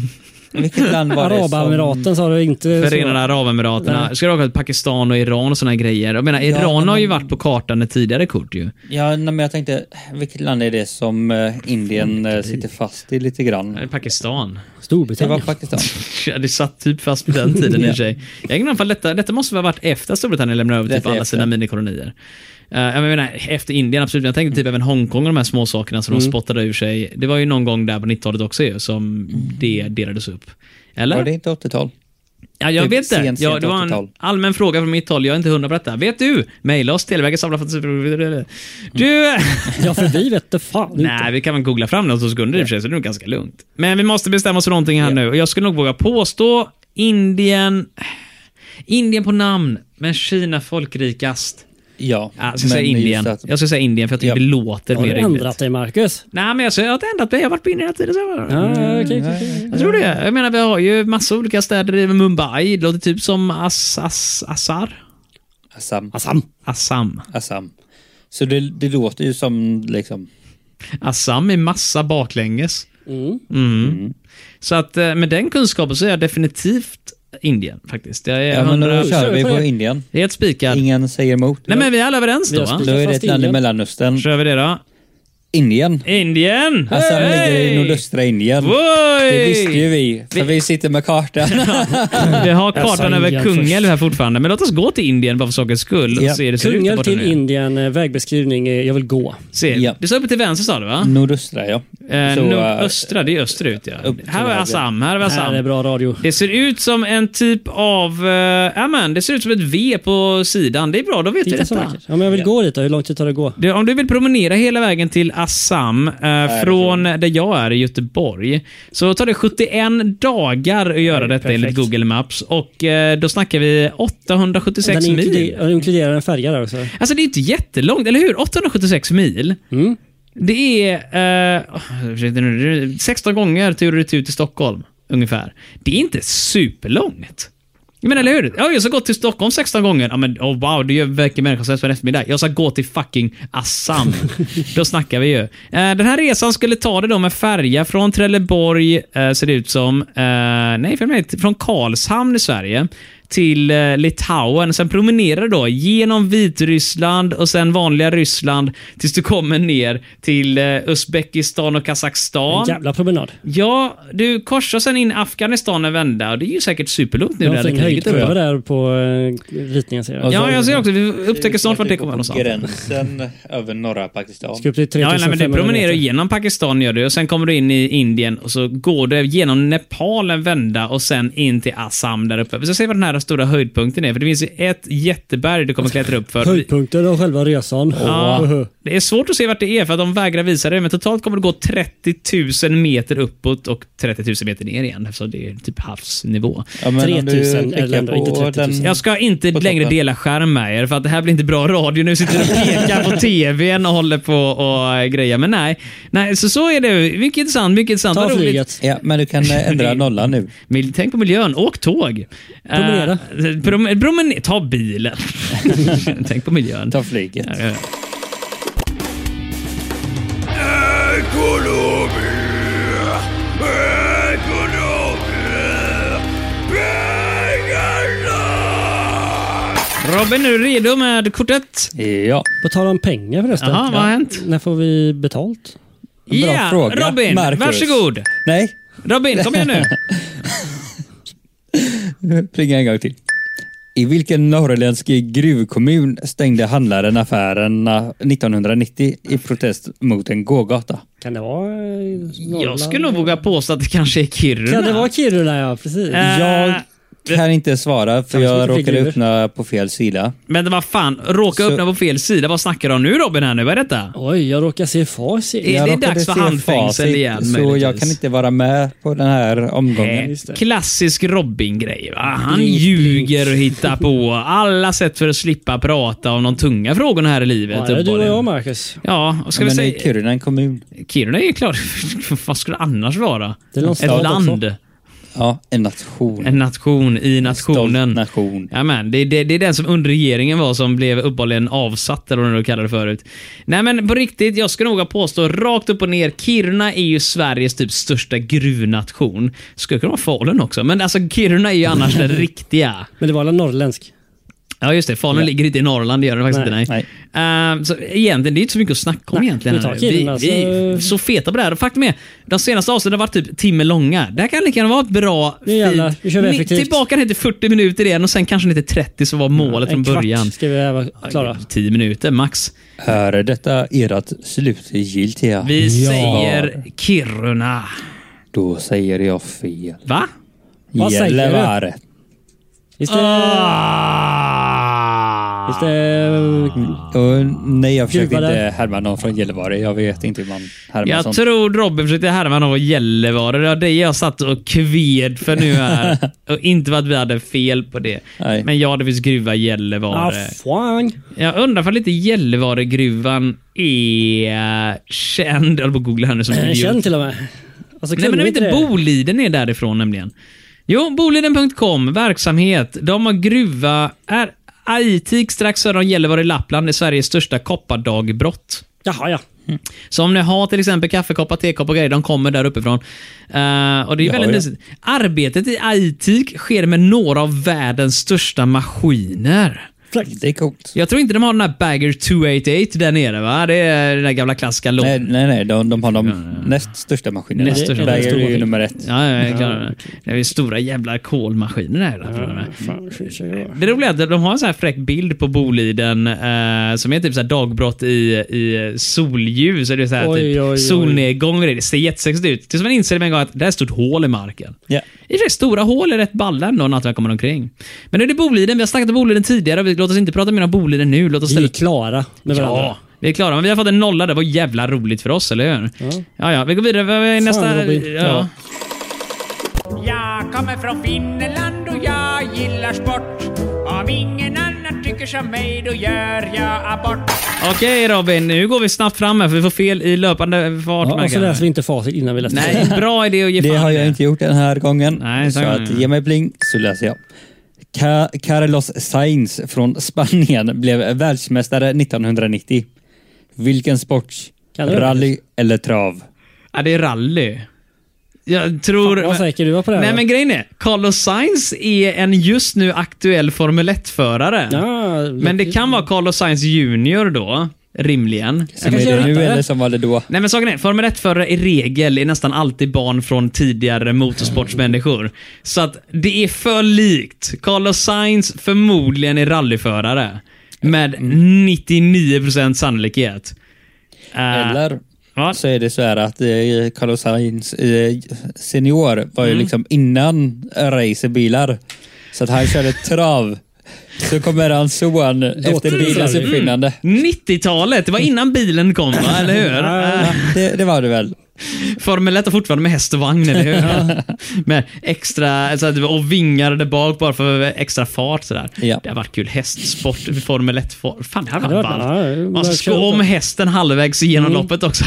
Speaker 1: Vilket land var det som...
Speaker 3: Arabemiraten sa du inte.
Speaker 5: Förenade
Speaker 3: så.
Speaker 5: Arabemiraten.
Speaker 3: Nej.
Speaker 5: Ska du åka till Pakistan och Iran och såna grejer? Jag menar,
Speaker 1: Ja,
Speaker 5: Iran har ju
Speaker 1: men-
Speaker 5: varit på kartan med tidigare kort ju.
Speaker 1: Ja, nej, men jag tänkte, vilket land är det som eh, Indien eh, sitter fast i lite
Speaker 5: Nej,
Speaker 1: grann?
Speaker 5: Pakistan.
Speaker 1: Det var
Speaker 3: Storbritannien.
Speaker 1: Pakistan.
Speaker 5: Ja, det satt typ fast på den tiden i och för sig. Jag har ingen aning om detta, detta måste ha varit efter Storbritannien lämnade över typ
Speaker 1: Detta är
Speaker 5: alla
Speaker 1: efter.
Speaker 5: sina minikolonier. Eh, jag menar, efter Indien, absolut. Men Jag tänkte
Speaker 1: Mm.
Speaker 5: typ även Hongkong och de här små sakerna som de spottade ur sig. Det var ju någon gång där på 90-talet också ju, som det delades upp. Eller?
Speaker 1: Mm. Var det inte 80-tal?
Speaker 5: ja, jag
Speaker 1: typ
Speaker 5: vet inte.
Speaker 1: sent,
Speaker 5: ja,
Speaker 1: sent
Speaker 5: det var en
Speaker 1: 80-tal?
Speaker 5: allmän fråga från mitt håll. Jag är inte hundra på detta. Vet du? Mejla oss, Televerket samlar
Speaker 1: Mm.
Speaker 5: för... Du!
Speaker 3: Ja, för vi vet det fan inte.
Speaker 5: Nej, vi kan väl googla fram något hos sekunder i och för sig, så det är nog ganska lugnt. Men vi måste bestämma oss för någonting här nu. Och jag skulle nog våga påstå Indien... Indien på namn, men Kina folkrikast.
Speaker 1: Ja.
Speaker 5: Ja, jag ska säga
Speaker 1: men just
Speaker 5: Indien.
Speaker 1: att-
Speaker 5: Jag ska säga Indien för jag tycker
Speaker 1: Ja.
Speaker 5: det låter
Speaker 3: Har
Speaker 5: mer
Speaker 3: du ändrat
Speaker 5: rimligt.
Speaker 3: dig, Marcus?
Speaker 5: Nej, men jag, säger- jag har inte ändrat mig. Jag har varit på Indien hela tiden. Så jag,
Speaker 3: Ja, okej, okej, okej.
Speaker 5: jag tror det. Jag menar, vi har ju massa olika städer. i Mumbai, det låter typ som As, As, Asar.
Speaker 1: Assam.
Speaker 3: Assam.
Speaker 5: Assam.
Speaker 1: Assam. Så det, det låter ju som liksom...
Speaker 5: Assam är massa baklänges.
Speaker 3: Mm.
Speaker 5: Mm. Så att eh, med den kunskapen så är jag definitivt Indien faktiskt. Jag är
Speaker 1: Ja, men
Speaker 5: hundra-
Speaker 1: då
Speaker 3: kör
Speaker 1: kör
Speaker 3: vi
Speaker 1: vi
Speaker 3: på
Speaker 1: på
Speaker 3: det.
Speaker 1: Indien.
Speaker 5: helt spikad.
Speaker 1: Ingen säger emot.
Speaker 5: Nej, men vi är alla överens
Speaker 3: Vi
Speaker 5: då,
Speaker 3: har
Speaker 5: va?
Speaker 1: Då är det
Speaker 3: Fast
Speaker 1: ett land i
Speaker 3: Indien.
Speaker 1: Mellanöstern.
Speaker 5: kör vi det då.
Speaker 1: Indien.
Speaker 5: Indien!
Speaker 1: Assam ligger i
Speaker 5: Hey!
Speaker 1: nordöstra Indien.
Speaker 5: Woj!
Speaker 1: Det visste ju vi, för
Speaker 5: Vi-
Speaker 1: vi sitter med kartan.
Speaker 5: Vi har
Speaker 3: Jag sa
Speaker 5: kartan
Speaker 3: Indien
Speaker 5: över Kungälv
Speaker 3: först.
Speaker 5: här fortfarande, men låt oss gå till Indien bara för sakens skull och
Speaker 1: Ja.
Speaker 5: se hur det ser ut där
Speaker 3: Kungälv
Speaker 5: borta
Speaker 3: till
Speaker 5: nu.
Speaker 3: Indien, eh, vägbeskrivning, eh, jag vill gå.
Speaker 5: Se,
Speaker 1: Ja.
Speaker 5: Det står uppe till vänster sa du va?
Speaker 1: Nordöstra, ja.
Speaker 5: Eh,
Speaker 1: Mm. Så, eh,
Speaker 5: nordöstra, det är österut ja.
Speaker 1: upp till
Speaker 5: Här är
Speaker 1: höger.
Speaker 5: Assam, här är
Speaker 3: Här är
Speaker 5: Assam.
Speaker 3: bra radio.
Speaker 5: Det ser ut som en typ av... eh, Ja men, det ser ut som ett V på sidan. Det är bra, då vet du
Speaker 3: Titta så
Speaker 5: detta.
Speaker 3: vackert. Ja, men jag vill gå dit då. Hur lång tid tar det att gå?
Speaker 5: Du, om du vill promenera hela vägen till Assam eh, från där jag är i Göteborg, så tar det 71 dagar att göra detta
Speaker 3: perfekt.
Speaker 5: enligt Google Maps. Och eh, då snackar vi 876
Speaker 3: Den
Speaker 5: mil.
Speaker 3: inkluder- den inkluderar en färja där också.
Speaker 5: Alltså det är inte jättelångt, eller hur? 876 mil.
Speaker 3: Mm.
Speaker 5: Det är eh, ursäkta nu, 16 gånger tur och retur till Stockholm, ungefär. Det är inte superlångt. Men eller hur? Ja, jag ska gå till Stockholm 16 gånger. Ja, men oh, wow, det gör verkligen människor som på en eftermiddag. Jag ska gå till fucking Assam. då snackar vi ju. Eh, den här resan skulle ta det då med färja från Trelleborg, eh, ser det ut som. Eh, nej, för mig, från Karlshamn i Sverige till eh, Litauen. Sen promenerar du då genom Vitryssland och sen vanliga Ryssland tills du kommer ner till eh, Uzbekistan och Kazakstan.
Speaker 3: En jävla promenad.
Speaker 5: Ja, du korsar sen in Afghanistan en vända och det är ju säkert superlugnt nu
Speaker 3: Jag
Speaker 5: när
Speaker 3: har
Speaker 5: det
Speaker 3: en
Speaker 5: kriget är över.
Speaker 3: höjdkurva där på eh, ritningen ser jag.
Speaker 1: Och så-
Speaker 5: Ja, jag ser också. Vi upptäcker snart vart det kommer
Speaker 1: någonstans.
Speaker 5: någonstans.
Speaker 1: Gränsen över norra Pakistan.
Speaker 3: Ska upp till
Speaker 5: Ja, nej, men du
Speaker 3: 3500
Speaker 5: promenerar
Speaker 3: meter.
Speaker 5: genom Pakistan gör du och sen kommer du in i Indien och så går du genom Nepal en vända och sen in till Assam där uppe. Vi ska se vad den här stora höjdpunkten är, för det finns ju ett jätteberg du kommer klättra upp för.
Speaker 3: Höjdpunkten av själva resan.
Speaker 5: Ja, det är svårt att se vart det är för att de vägrar visa det, men totalt kommer det gå 30 000 meter uppåt och 30 000 meter ner igen, eftersom det är typ havsnivå.
Speaker 1: Ja, men om du
Speaker 3: 3000
Speaker 1: klickar
Speaker 3: eller ändå,
Speaker 1: på
Speaker 3: inte 30 000.
Speaker 1: den-
Speaker 5: Jag ska inte
Speaker 1: På
Speaker 5: längre
Speaker 1: toppen.
Speaker 5: dela skärm med er för att det här blir inte bra radio. Nu sitter du och pekar på tvn och håller på och eh, grejer. Men nej, nej så, så är det. Mycket intressant, mycket intressant.
Speaker 3: Ta
Speaker 5: Vad roligt.
Speaker 3: flyget.
Speaker 1: Ja, men du kan eh, ändra nollan nu.
Speaker 5: Mil- Tänk på miljön. Åk tåg.
Speaker 3: Promenera.
Speaker 5: Eh, prom- promen- ta bilen. Tänk på miljön.
Speaker 1: Ta flyget.
Speaker 5: Ja, ja. Robin, är du redo med kortet?
Speaker 1: Ja.
Speaker 3: På tal om pengar förresten.
Speaker 5: Jaha, vad har hänt?
Speaker 3: När får vi betalt?
Speaker 5: Ja,
Speaker 1: Bra fråga,
Speaker 5: Robin.
Speaker 1: Marcus.
Speaker 5: Varsågod.
Speaker 1: Nej,
Speaker 5: Robin, kom igen nu.
Speaker 1: plinga en gång till. I vilken norrländsk gruvkommun stängde handlaren affärerna 1990 i protest mot en gågata?
Speaker 3: Kan det vara eh,
Speaker 5: Jag
Speaker 3: Norrland?
Speaker 5: skulle nog våga påstå att det kanske är Kiruna.
Speaker 3: Kan det vara Kiruna? Ja, precis.
Speaker 5: Eh,
Speaker 1: Jag kan inte svara för
Speaker 3: Kanske
Speaker 1: jag
Speaker 3: inte fick
Speaker 1: råkade
Speaker 3: gruvor.
Speaker 1: öppna på fel sida.
Speaker 5: Men vad fan, råka
Speaker 1: Så-
Speaker 5: öppna på fel sida. Vad snackar du om nu Robin? Här nu? Vad är detta?
Speaker 3: Oj, jag råkar se facit.
Speaker 5: Är
Speaker 1: Jag
Speaker 5: det
Speaker 1: råkade
Speaker 5: dags för
Speaker 1: se
Speaker 5: handfängsel
Speaker 1: facit,
Speaker 5: igen,
Speaker 1: Så
Speaker 5: möjligtvis?
Speaker 1: jag kan inte vara med på den här omgången.
Speaker 3: just det.
Speaker 5: Eh, Klassisk Robin-grej. va? Han
Speaker 3: Blink, blink.
Speaker 5: ljuger och hittar på alla sätt för att slippa prata om de tunga frågorna här i livet.
Speaker 3: Ja, det är du och
Speaker 5: uppenbarligen.
Speaker 3: jag, Marcus.
Speaker 5: Ja, vad ska
Speaker 1: men
Speaker 5: vi
Speaker 1: är
Speaker 5: säga?
Speaker 1: Kiruna en kommun?
Speaker 5: Kiruna är ju klart. vad skulle det annars vara?
Speaker 3: Det är någon
Speaker 5: Ett
Speaker 3: stad
Speaker 5: land.
Speaker 3: också.
Speaker 1: Ja, en nation.
Speaker 5: En nation i nationen.
Speaker 1: Stolt nation.
Speaker 5: Ja, men det, det, det är den som under regeringen var som blev uppenbarligen avsatt, eller vad du kallade det förut. Nej men på riktigt, jag skulle nog ha påstå rakt upp och ner, Kiruna är ju Sveriges typ största gruvnation. Skulle kunna vara Falun också, men alltså Kiruna är ju annars den riktiga.
Speaker 3: Men det var väl norrländsk?
Speaker 5: Ja just det, Falun ligger inte i Norrland, det gör det faktiskt
Speaker 3: Nej,
Speaker 5: inte. Nej. Ehm, så egentligen, det är inte så mycket att snacka om
Speaker 3: Nej,
Speaker 5: egentligen.
Speaker 3: vi tar alltså.
Speaker 5: här.
Speaker 3: Kiruna,
Speaker 5: vi, vi är
Speaker 3: så-
Speaker 5: så feta på det här. Och faktum är, de senaste avsnitten har varit typ timme långa. Det här kan lika gärna vara ett bra,
Speaker 3: Nu jävlar, nu kör vi
Speaker 5: Ni-
Speaker 3: effektivt.
Speaker 5: Tillbaka ner till 40 minuter igen och sen kanske lite 30 som var målet från
Speaker 3: en kvart
Speaker 5: början.
Speaker 3: ska vi vara klara.
Speaker 5: 10 minuter max.
Speaker 1: Här är detta ert slutgiltiga?
Speaker 5: Vi
Speaker 1: Ja.
Speaker 5: säger Kiruna.
Speaker 1: Då säger jag fel.
Speaker 5: Va?
Speaker 3: Vad säger du?
Speaker 1: Gällivare.
Speaker 3: Visst är det...
Speaker 5: Ah.
Speaker 3: Just det.
Speaker 1: Och, nej, jag försökte
Speaker 3: Gud, vad
Speaker 1: inte härma någon från Gällivare. Jag vet inte hur man härmar
Speaker 5: Jag
Speaker 1: sånt.
Speaker 5: tror Robin försökte härma någon Gällivare. Det var det jag satt och kved för nu här. och inte för att vi hade fel på det.
Speaker 1: Nej.
Speaker 5: Men ja, det finns gruva i
Speaker 3: Ah,
Speaker 5: Gällivare.
Speaker 3: fan.
Speaker 5: Jag undrar ifall inte Gällivaregruvan är känd. Jag håller på att googla här nu som
Speaker 3: Eh,
Speaker 5: idiot.
Speaker 3: Känn till och med. Alltså,
Speaker 5: Nej, men om
Speaker 3: kunde
Speaker 5: inte
Speaker 3: det?
Speaker 5: Boliden är därifrån nämligen. Jo, boliden.com, verksamhet. De har gruva, är Aitik strax söder om Gällivare i Lappland, är Sveriges största koppardagbrott.
Speaker 3: Jaha, ja.
Speaker 5: Mm. Så om ni har till exempel kaffekoppar, tekoppar och grejer, de kommer där uppifrån. Eh, och det är
Speaker 1: Ja,
Speaker 5: väldigt
Speaker 1: ja.
Speaker 5: mysigt. Arbetet i Aitik sker med några av världens största maskiner.
Speaker 1: Det är coolt.
Speaker 5: Jag tror inte de har den här Bagger 288 där nere va? Det är den där gamla klassiska låten.
Speaker 1: Nej, nej, nej de, de har de näst största maskinerna.
Speaker 5: Näst största.
Speaker 1: Bagger är ju
Speaker 3: Stor-
Speaker 1: nummer ett.
Speaker 5: Ja, ja, jag klarar det. Det är ju stora jävla kolmaskiner där. Ja.
Speaker 3: Fan, skit sig.
Speaker 5: Det roliga är att de har en sån här fräck bild på Boliden eh, som är typ så här dagbrott i, i solljus. Eller så här,
Speaker 3: Oj,
Speaker 5: typ
Speaker 3: oj, oj.
Speaker 5: Solnedgång och det. Det ser jättesexigt ut. Tills man inser med en gång att det här är ett stort hål i marken.
Speaker 1: Ja.
Speaker 5: I och för sig, stora hål är rätt balla ändå när jag kommer omkring. Men nu är det Boliden. Vi har snackat om Boliden tidigare. Vi, låt oss inte prata mer om Boliden nu. Låt oss
Speaker 3: Vi
Speaker 5: ställa...
Speaker 3: är klara med varandra.
Speaker 5: Ja, vi är klara. Men vi har fått en nolla. Det var jävla roligt för oss, eller hur? Ja, ja. vi går vidare. Vad är nästa?
Speaker 3: Robin.
Speaker 5: ja.
Speaker 3: Ja.
Speaker 6: Jag kommer från Finland och jag gillar sport. Om ingen annan tycker som mig då gör jag abort.
Speaker 5: Okej Robin, nu går vi snabbt fram här för vi får fel i löpande fart.
Speaker 3: Ja, och så
Speaker 5: märker jag.
Speaker 3: läser vi inte facit innan vi läser
Speaker 5: Oh Nej, bra idé att ge
Speaker 1: Det
Speaker 5: fan
Speaker 1: har
Speaker 5: i
Speaker 1: jag
Speaker 5: det.
Speaker 1: inte gjort den här gången.
Speaker 5: Nej,
Speaker 1: så
Speaker 5: tack.
Speaker 1: att ge mig bling så läser jag. Ka Carlos Sainz från Spanien blev världsmästare 1990. Vilken sport?
Speaker 3: Kan du?
Speaker 1: Rally eller trav?
Speaker 5: Ja, det är rally. Jag tror...
Speaker 3: Fan, vad säker du var på det här.
Speaker 5: Nej men grejen är, Carlos Sainz är en just nu aktuell Formel 1-förare.
Speaker 3: Ja,
Speaker 5: men det kan vara Carlos Sainz Junior då, rimligen.
Speaker 1: Som är
Speaker 3: kanske
Speaker 1: det
Speaker 3: jag
Speaker 1: nu
Speaker 3: hittade.
Speaker 1: eller som var det då?
Speaker 5: Nej men saken är, Formel 1-förare i regel är nästan alltid barn från tidigare motorsportsmänniskor. Så att det är för likt. Carlos Sainz förmodligen är rallyförare. Med
Speaker 3: Mm.
Speaker 5: 99% sannolikhet. Eh,
Speaker 1: Eller
Speaker 5: ja.
Speaker 1: så är det så här att eh, Carlos Sainz eh, senior var ju
Speaker 5: Mm.
Speaker 1: liksom innan racerbilar. Så att han körde trav. Så kommer hans son efter
Speaker 3: till
Speaker 1: bilens
Speaker 3: rally.
Speaker 1: uppfinnande.
Speaker 5: 90-talet, det var innan bilen kom va, eller hur? Eh,
Speaker 1: Det, det var det väl.
Speaker 5: Formel 1 har fortfarande med häst och vagn, eller hur? med extra, alltså, och vingar där bak bara för extra fart sådär.
Speaker 1: Ja.
Speaker 5: Det har varit kul. Hästsport, Formel 1 for- Fan, det hade
Speaker 3: det
Speaker 5: varit
Speaker 3: hade varit- ja,
Speaker 5: ballt.
Speaker 3: det
Speaker 5: Man ska
Speaker 3: hade
Speaker 5: sko
Speaker 3: varit kul.
Speaker 5: Alltså, om
Speaker 3: Mm.
Speaker 5: hästen halvvägs genom loppet också.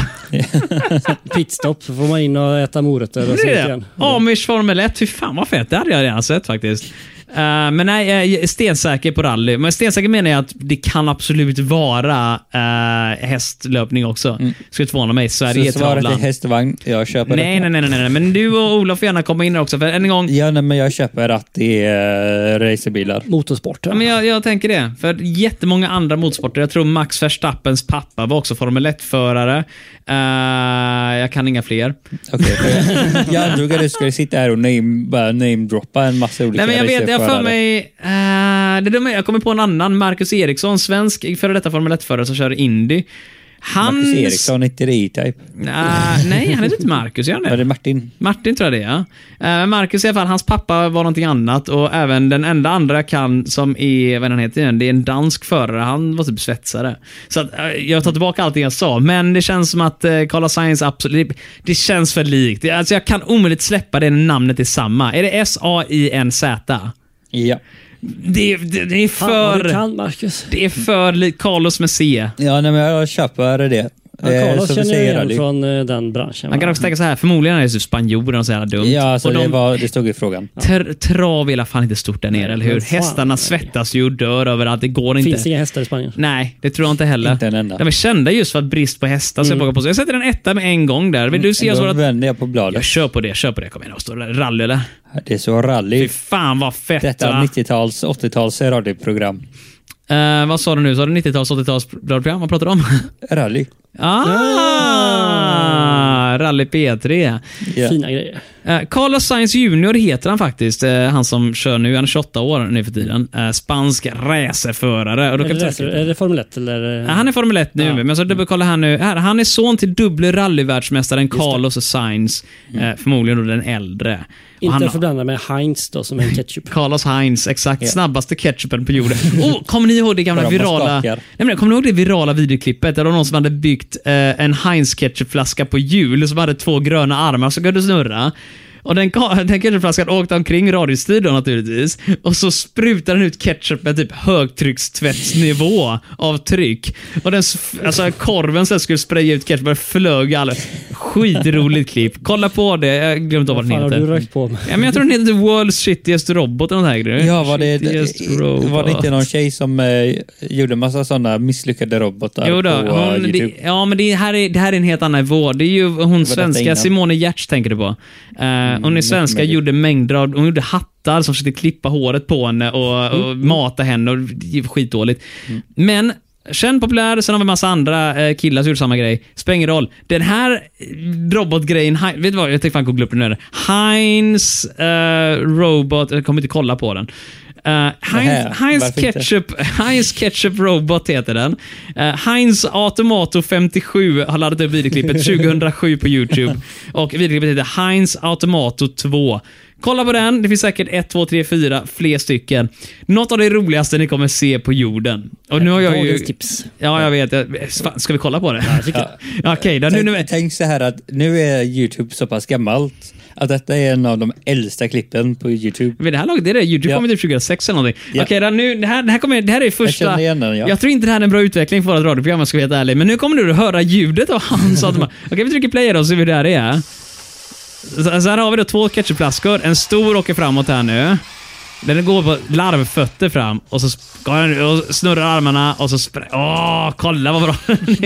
Speaker 3: Pitstop, så får man in och äta morötter och
Speaker 5: Det
Speaker 3: sånt
Speaker 5: är det.
Speaker 3: igen.
Speaker 5: Amish Formel 1, fy fan vad fett. Det hade jag redan sett faktiskt. Eh, men nej, jag är stensäker på rally. Men stensäker menar jag att det kan absolut vara eh, hästlöpning också.
Speaker 3: Mm.
Speaker 5: Skulle inte förvåna mig. Sverige är
Speaker 1: Så
Speaker 5: ett
Speaker 1: svaret är
Speaker 5: travland.
Speaker 1: häst och vagn. Jag köper
Speaker 5: Nej,
Speaker 1: detta.
Speaker 5: nej, nej, nej, nej. Men du och Olof får gärna komma in här också. För än en gång,
Speaker 1: Ja, nej, men jag köper att det är eh, racerbilar.
Speaker 3: Motorsport.
Speaker 5: Ja, men jag, jag tänker det. För jättemånga andra motorsporter. Jag tror Max Verstappens pappa var också Formel 1-förare. Eh, jag kan inga fler.
Speaker 1: Okej, för jag- jag antog att du skulle sitta här och name, bara namedroppa en massa olika
Speaker 5: Nej, men jag vet, jag har för
Speaker 1: racerförare.
Speaker 5: mig... eh, det dumma är, jag kommer på en annan. Marcus Eriksson, svensk före detta Formel 1-förare som kör Indy. Han...
Speaker 1: Marcus Eriksson, inte det E-Type?
Speaker 5: Eh, nej, han heter inte Marcus, gör han
Speaker 1: Var
Speaker 5: det?
Speaker 1: det Martin?
Speaker 5: Martin tror jag det är. ja. Eh, Marcus i alla fall, hans pappa var någonting annat och även den enda andra jag kan som är, vad är han heter igen, det är en dansk förare. Han var typ svetsare. Så att, eh, jag tar tillbaka allting jag sa, men det känns som att eh, Carla Sainz absolut, det känns för likt. Det- Alltså jag kan omöjligt släppa det när namnet är samma. Är det S-A-I-N-Z?
Speaker 1: Ja.
Speaker 5: Det, det, det är
Speaker 3: Fan, vad du
Speaker 5: för... Eh,
Speaker 3: kan, Marcus.
Speaker 5: Det är för likt Carlos med C.
Speaker 1: Ja, nej, men jag köper det.
Speaker 3: Ja,
Speaker 1: Eh,
Speaker 3: Carlos
Speaker 1: som vi
Speaker 3: känner jag
Speaker 1: säger,
Speaker 3: igen
Speaker 1: rally.
Speaker 3: från eh, den branschen.
Speaker 5: Man kan
Speaker 3: va?
Speaker 5: också tänka så här, förmodligen är det typ spanjorer och så jävla dumt.
Speaker 1: Ja, alltså,
Speaker 5: och de-
Speaker 1: det, var, det stod i frågan.
Speaker 5: Tr- trav är i alla fall inte stort där nere, eller hur?
Speaker 3: men fan.
Speaker 5: Hästarna svettas ju och dör överallt. Det går inte.
Speaker 3: Finns inga hästar i Spanien.
Speaker 5: Nej, det tror jag inte heller.
Speaker 1: Inte en enda.
Speaker 5: De är kända just för att brist på hästar, så jag vågar på Jag sätter en etta med en gång där. Vill du se oss
Speaker 1: Då
Speaker 5: våra...
Speaker 1: vänder jag på
Speaker 5: Jag
Speaker 1: bladet.
Speaker 5: kör på det, kör på det. Kom igen, vad står det där? Rally eller?
Speaker 1: Det är så
Speaker 5: Fy
Speaker 1: rally.
Speaker 5: fan vad fett
Speaker 1: Detta
Speaker 5: va?
Speaker 1: 90-tals, 80-tals radioprogram.
Speaker 5: Eh, vad sa du nu? Sa du 90-tals, 80-tals program? Vad pratar du om?
Speaker 1: Rally.
Speaker 5: ah! Rally P3.
Speaker 1: Ja.
Speaker 3: Fina grejer.
Speaker 5: Eh, Carlos Sainz Junior heter han faktiskt. eh, han som kör nu. Han är 28 år nu för tiden. Eh, spansk racerförare. Och då
Speaker 3: Är
Speaker 5: kan vi
Speaker 3: det,
Speaker 5: ta-
Speaker 3: racer- är det Formel 1 eller? eh,
Speaker 5: Ja, Han är Formel 1 nu,
Speaker 3: Ja.
Speaker 5: men jag ska dubbelkolla här nu. Här, han är son till dubbel rallyvärldsmästaren Carlos Sainz. Eh, förmodligen då den äldre.
Speaker 3: Mm. Inte
Speaker 5: han-
Speaker 3: att förblanda med Heinz då, som är en ketchup.
Speaker 5: Carlos Heinz, exakt. Snabbaste ketchupen på jorden. Oh, kommer ni ihåg det gamla
Speaker 1: Bara man
Speaker 5: virala...
Speaker 1: skakar.
Speaker 5: Nej, men, kommer ni ihåg det virala videoklippet? Där det var någon som hade byggt eh, en Heinz ketchupflaska på hjul som hade två gröna armar som kunde snurra. Och den, ka- den ketchupflaskan åkte omkring radiostyrd då naturligtvis. Och så sprutade den ut ketchup med typ högtryckstvättsnivå av tryck. Och den, s- alltså korven sen skulle spraya ut ketchup och flög alla. Skitroligt klipp. Kolla på det. Jag glömde av vad
Speaker 3: Fan,
Speaker 5: den
Speaker 3: har
Speaker 5: heter.
Speaker 3: du rökt på mig?
Speaker 5: Ja, men jag tror den heter The World's Shittiest Robot eller nåt här grejer.
Speaker 1: Ja, var det,
Speaker 5: Shittiest Robot.
Speaker 1: var det inte någon tjej som eh, gjorde massa sådana misslyckade robotar
Speaker 5: Jo då,
Speaker 1: på eh,
Speaker 5: hon,
Speaker 1: YouTube?
Speaker 5: det, ja, men det här, är, det här är en helt annan nivå. Det är ju hon
Speaker 1: detta
Speaker 5: svenska,
Speaker 1: innan. Mm,
Speaker 5: Simone Giertz tänker du på. Eh, hon är svenska,
Speaker 1: möjligt.
Speaker 5: gjorde mängder av, hon gjorde hattar som försökte klippa håret på henne och,
Speaker 1: Mm.
Speaker 5: och mata henne. Och, det var skitdåligt. Men Känd populär, sen har vi massa andra eh, killar som gjorde samma grej. Spelar ingen roll. Den här eh, robotgrejen, Hein- vet du vad? Jag tänkte fan googla upp den nu. Heinz eh, Robot, jag kommer inte kolla på den. Eh,
Speaker 1: Nähä,
Speaker 5: Heinz, Heinz
Speaker 1: varför inte?
Speaker 5: Ketchup Ketchup, Heinz Ketchup Robot heter den. Eh, Heinz Automato 57 har laddat upp videoklippet 2007 på YouTube. Och videoklippet heter Heinz Automato 2. Kolla på den, det finns säkert 1, 2, 3, 4, fler stycken. Något av det roligaste ni kommer se på jorden. Och nu har jag ju...
Speaker 3: Dagens tips.
Speaker 5: Ja, jag vet. Jag, fan, ska vi kolla på det? Ja. Okej, då, nu, nu,
Speaker 1: Tänk, tänk så här att nu är YouTube så pass gammalt att detta är en av de äldsta klippen på YouTube.
Speaker 5: Vid det här laget, det är det. YouTube
Speaker 1: Ja.
Speaker 5: kommer typ 2006 eller någonting.
Speaker 1: Ja.
Speaker 5: Okej, då nu, det, här, det, här kommer, det här är första...
Speaker 1: känner igen den, ja.
Speaker 5: Jag tror inte det här är en bra utveckling för vårt radioprogram om jag ska vara helt ärlig. Men nu kommer du att höra ljudet av Hans automat. Okej, vi trycker play då och ser hur det här är. Så, så här har vi då två ketchupflaskor. En stor åker framåt här nu. Den går på larvfötter fram och så sp- går den- och snurrar armarna och så... spr- Åh, kolla vad bra den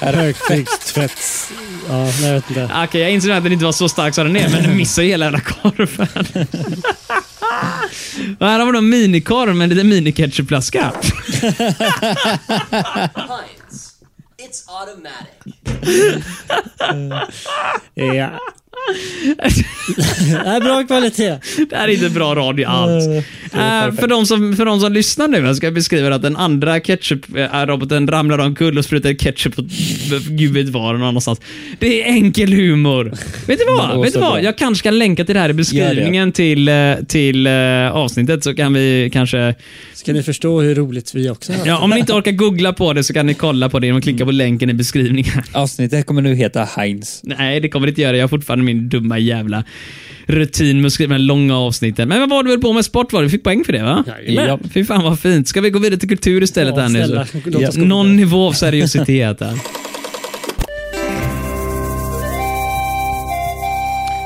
Speaker 5: är.
Speaker 3: Högtryckstvätt. Ja, nej, jag vet inte.
Speaker 5: Okej, jag inser att den inte var så stark som den är, men den missar ju hela jävla korven. Och här har vi då en minikorv med en liten miniketchupflaska.
Speaker 7: Heinz. It's automatic.
Speaker 3: Ja. det är bra kvalitet.
Speaker 5: Det här är inte bra radio alls. Eh, för, de som, för de som lyssnar nu, jag ska beskriva att den andra ketchup-roboten ramlar omkull och sprutar ketchup på gud vet var och någonstans. Det är enkel humor. Vet du
Speaker 1: Det
Speaker 5: vad?
Speaker 1: var
Speaker 5: Vet du
Speaker 1: så
Speaker 5: vad?
Speaker 1: bra.
Speaker 5: Jag kanske ska länka till det här i beskrivningen till, eh, till eh, avsnittet så kan vi kanske
Speaker 3: Ska ni förstå hur roligt vi också har
Speaker 5: Ja, om ni inte orkar googla på det så kan ni kolla på det genom att klicka på länken i beskrivningen.
Speaker 1: Avsnittet kommer nu heta Heinz.
Speaker 5: Nej, det kommer det inte göra. Jag har fortfarande min dumma jävla rutin med att skriva de här långa avsnitten. Men vad var du väl på med sport? Var det? Du fick poäng för det va?
Speaker 3: Jajamän.
Speaker 5: Ja, Fy fan vad fint. Ska vi gå vidare till kultur istället?
Speaker 3: Ja,
Speaker 5: här nu?
Speaker 3: snälla, låt
Speaker 5: Ja,
Speaker 3: oss gå vidare.
Speaker 5: Någon nivå av seriositet. här.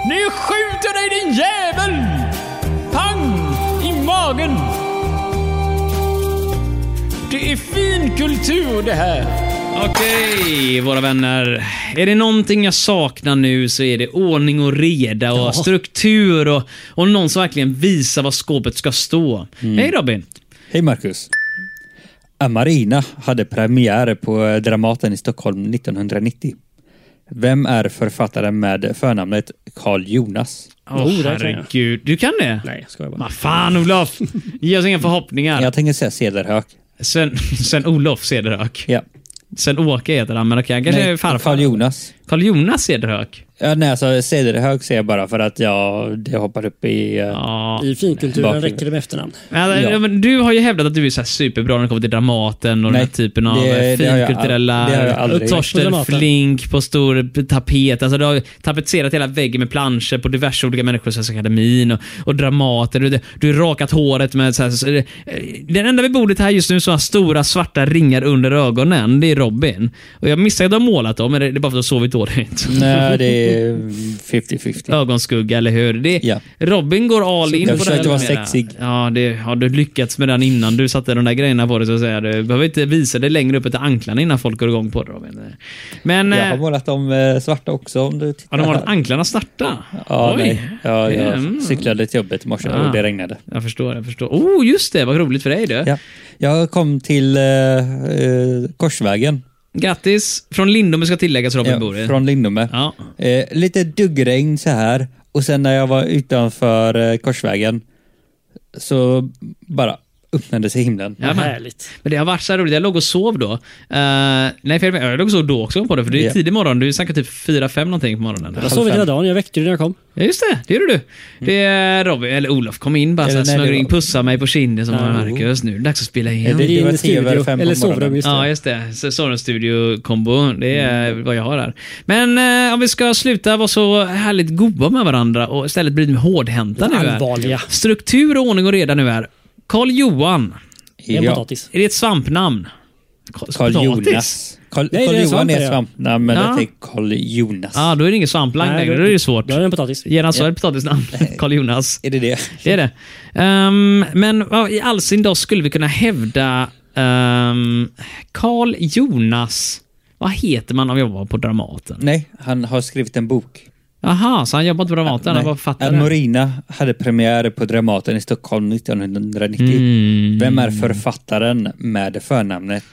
Speaker 6: Nu skjuter dig din jävel! Pang! I magen! Det är fin kultur det här.
Speaker 5: Okej, våra vänner. Är det någonting jag saknar nu så är det ordning och reda och struktur och, och någon som verkligen visar vad skåpet ska stå.
Speaker 3: Mm.
Speaker 5: Hej Robin!
Speaker 1: Hej Marcus. Amarina hade premiär på eh, Dramaten i Stockholm 1990. Vem är författaren med förnamnet Carl Jonas?
Speaker 5: Åh
Speaker 3: Jo, det kan jag.
Speaker 5: herregud. Du kan det?
Speaker 3: Nej, ska jag bara.
Speaker 5: Vad fan Olof! Ge oss inga förhoppningar.
Speaker 1: Jag tänker säga Cederhök.
Speaker 5: Sven, Sven Olof Cederhök.
Speaker 1: Ja.
Speaker 5: Sven-Åke heter han, men okej, han kanske är farfar.
Speaker 1: Carl Jonas.
Speaker 5: Karl-Jonas Cederhök.
Speaker 1: Ja, nej, alltså Cederhök säger jag bara för att jag, det hoppar upp i... eh,
Speaker 5: Ja.
Speaker 3: I finkulturen
Speaker 1: Bakhuvudet.
Speaker 3: räcker det med efternamn.
Speaker 5: Men,
Speaker 1: Ja.
Speaker 5: men Du har ju hävdat att du är så här superbra när det kommer till Dramaten och
Speaker 1: Nej,
Speaker 5: den här typen av
Speaker 1: det- det har jag all-
Speaker 5: eh,
Speaker 1: det har jag
Speaker 5: finkulturella...
Speaker 1: aldrig
Speaker 3: gjort. På
Speaker 5: Torsten
Speaker 3: Dramaten.
Speaker 5: Flink på stor tapet. Alltså, du har tapetserat hela väggen med planscher på diverse olika människor, Svenska Akademin och, och Dramaten. Du, du har rakat håret med... Så här, så, eh, den enda vid bordet här just nu som har stora svarta ringar under ögonen, det är Robin. Och Jag missar att du har målat dem, men det det är bara för att du har sovit dåligt.
Speaker 1: Nej, det är 50-50.
Speaker 5: Ögonskugga, eller hur? Det,
Speaker 1: Ja.
Speaker 5: Robin går all in
Speaker 1: Jag
Speaker 5: på den
Speaker 1: försökte
Speaker 5: här
Speaker 1: vara
Speaker 5: grejerna.
Speaker 1: sexig.
Speaker 5: Ja, det har du lyckats med den innan du satte de där grejerna på dig, så att säga. Du behöver inte visa det längre upp till anklarna innan folk går igång på det, Robin. Men...
Speaker 1: Jag har
Speaker 5: eh,
Speaker 1: målat dem eh, svarta också om du tittar.
Speaker 5: Har de varit
Speaker 1: här.
Speaker 5: anklarna starta?
Speaker 1: Ja,
Speaker 5: Oj.
Speaker 1: nej. Ja,
Speaker 5: Mm.
Speaker 1: jag cyklade till jobbet i morse
Speaker 5: Ah.
Speaker 1: och det regnade.
Speaker 5: Jag förstår, jag förstår. Oh, just det. Vad roligt för dig du.
Speaker 1: Ja. Jag kom till eh, eh, Korsvägen
Speaker 5: Grattis. Från Lindome ska tilläggas Robin
Speaker 1: ja,
Speaker 5: bor i.
Speaker 1: från Lindome.
Speaker 5: Ja.
Speaker 1: Eh, lite duggregn så här och sen när jag var utanför eh, Korsvägen så bara öppnade sig himlen.
Speaker 5: Ja, men-
Speaker 3: Härligt.
Speaker 5: Men det har varit så här roligt. Jag låg och sov då. Eh, nej, fel, jag låg och sov då också på det, för det är
Speaker 1: Ja. Alltså,
Speaker 5: tidig morgon. Du snackar typ 4-5 någonting på morgonen.
Speaker 3: Jag sov
Speaker 1: fem.
Speaker 3: hela dagen. Jag väckte dig när jag kom.
Speaker 5: Ja, just det. Det gjorde du. Det är Robin, eller Olof kom in bara
Speaker 1: Eller
Speaker 5: så här,
Speaker 1: nej, det
Speaker 5: smög
Speaker 1: var-
Speaker 5: in, pussade mig på kinden som man Marcus. Nu är det dags att spela in.
Speaker 1: Ja, det-
Speaker 3: Vi är
Speaker 1: var
Speaker 3: inne i
Speaker 1: tio över
Speaker 3: studio.
Speaker 1: fem på
Speaker 3: Eller
Speaker 1: morgonen.
Speaker 3: sovrum, just det.
Speaker 5: Ja, just det. Så- Sonos Studio Combo. Det är vad jag har här. Men eh, om vi ska sluta vara så härligt goa med varandra och istället bli lite hårdhänta nu. Här.
Speaker 3: Allvarliga.
Speaker 5: Struktur och ordning och reda nu är. Karl Johan.
Speaker 3: Det är en
Speaker 1: Ja.
Speaker 3: potatis.
Speaker 5: Är det ett svampnamn?
Speaker 1: Karl
Speaker 5: Potatis?
Speaker 1: Jonas. Karl
Speaker 3: Nej,
Speaker 1: Karl
Speaker 3: det är svamp,
Speaker 1: Johan är
Speaker 3: ja.
Speaker 1: svamp. Nej, men
Speaker 5: Ja.
Speaker 1: det är Karl Jonas.
Speaker 5: Ja, då är det ingen svamplang
Speaker 3: Nej,
Speaker 5: längre.
Speaker 3: då-
Speaker 5: Då är det ju svårt.
Speaker 3: Då är det en potatis.
Speaker 5: Ge hans ett potatisnamn. Karl Jonas.
Speaker 1: Är det det?
Speaker 5: Det är det. Ehm, men vad i all sin dag skulle vi kunna hävda ehm, Karl Jonas... Vad heter man om man jobbar på Dramaten?
Speaker 1: Nej, han har skrivit en bok.
Speaker 5: Aha, så han jobbar på Dramaten? Han
Speaker 1: Nej.
Speaker 5: var författare?
Speaker 1: Morina hade premiär på Dramaten i Stockholm 1990.
Speaker 5: Mm.
Speaker 1: Vem är författaren med förnamnet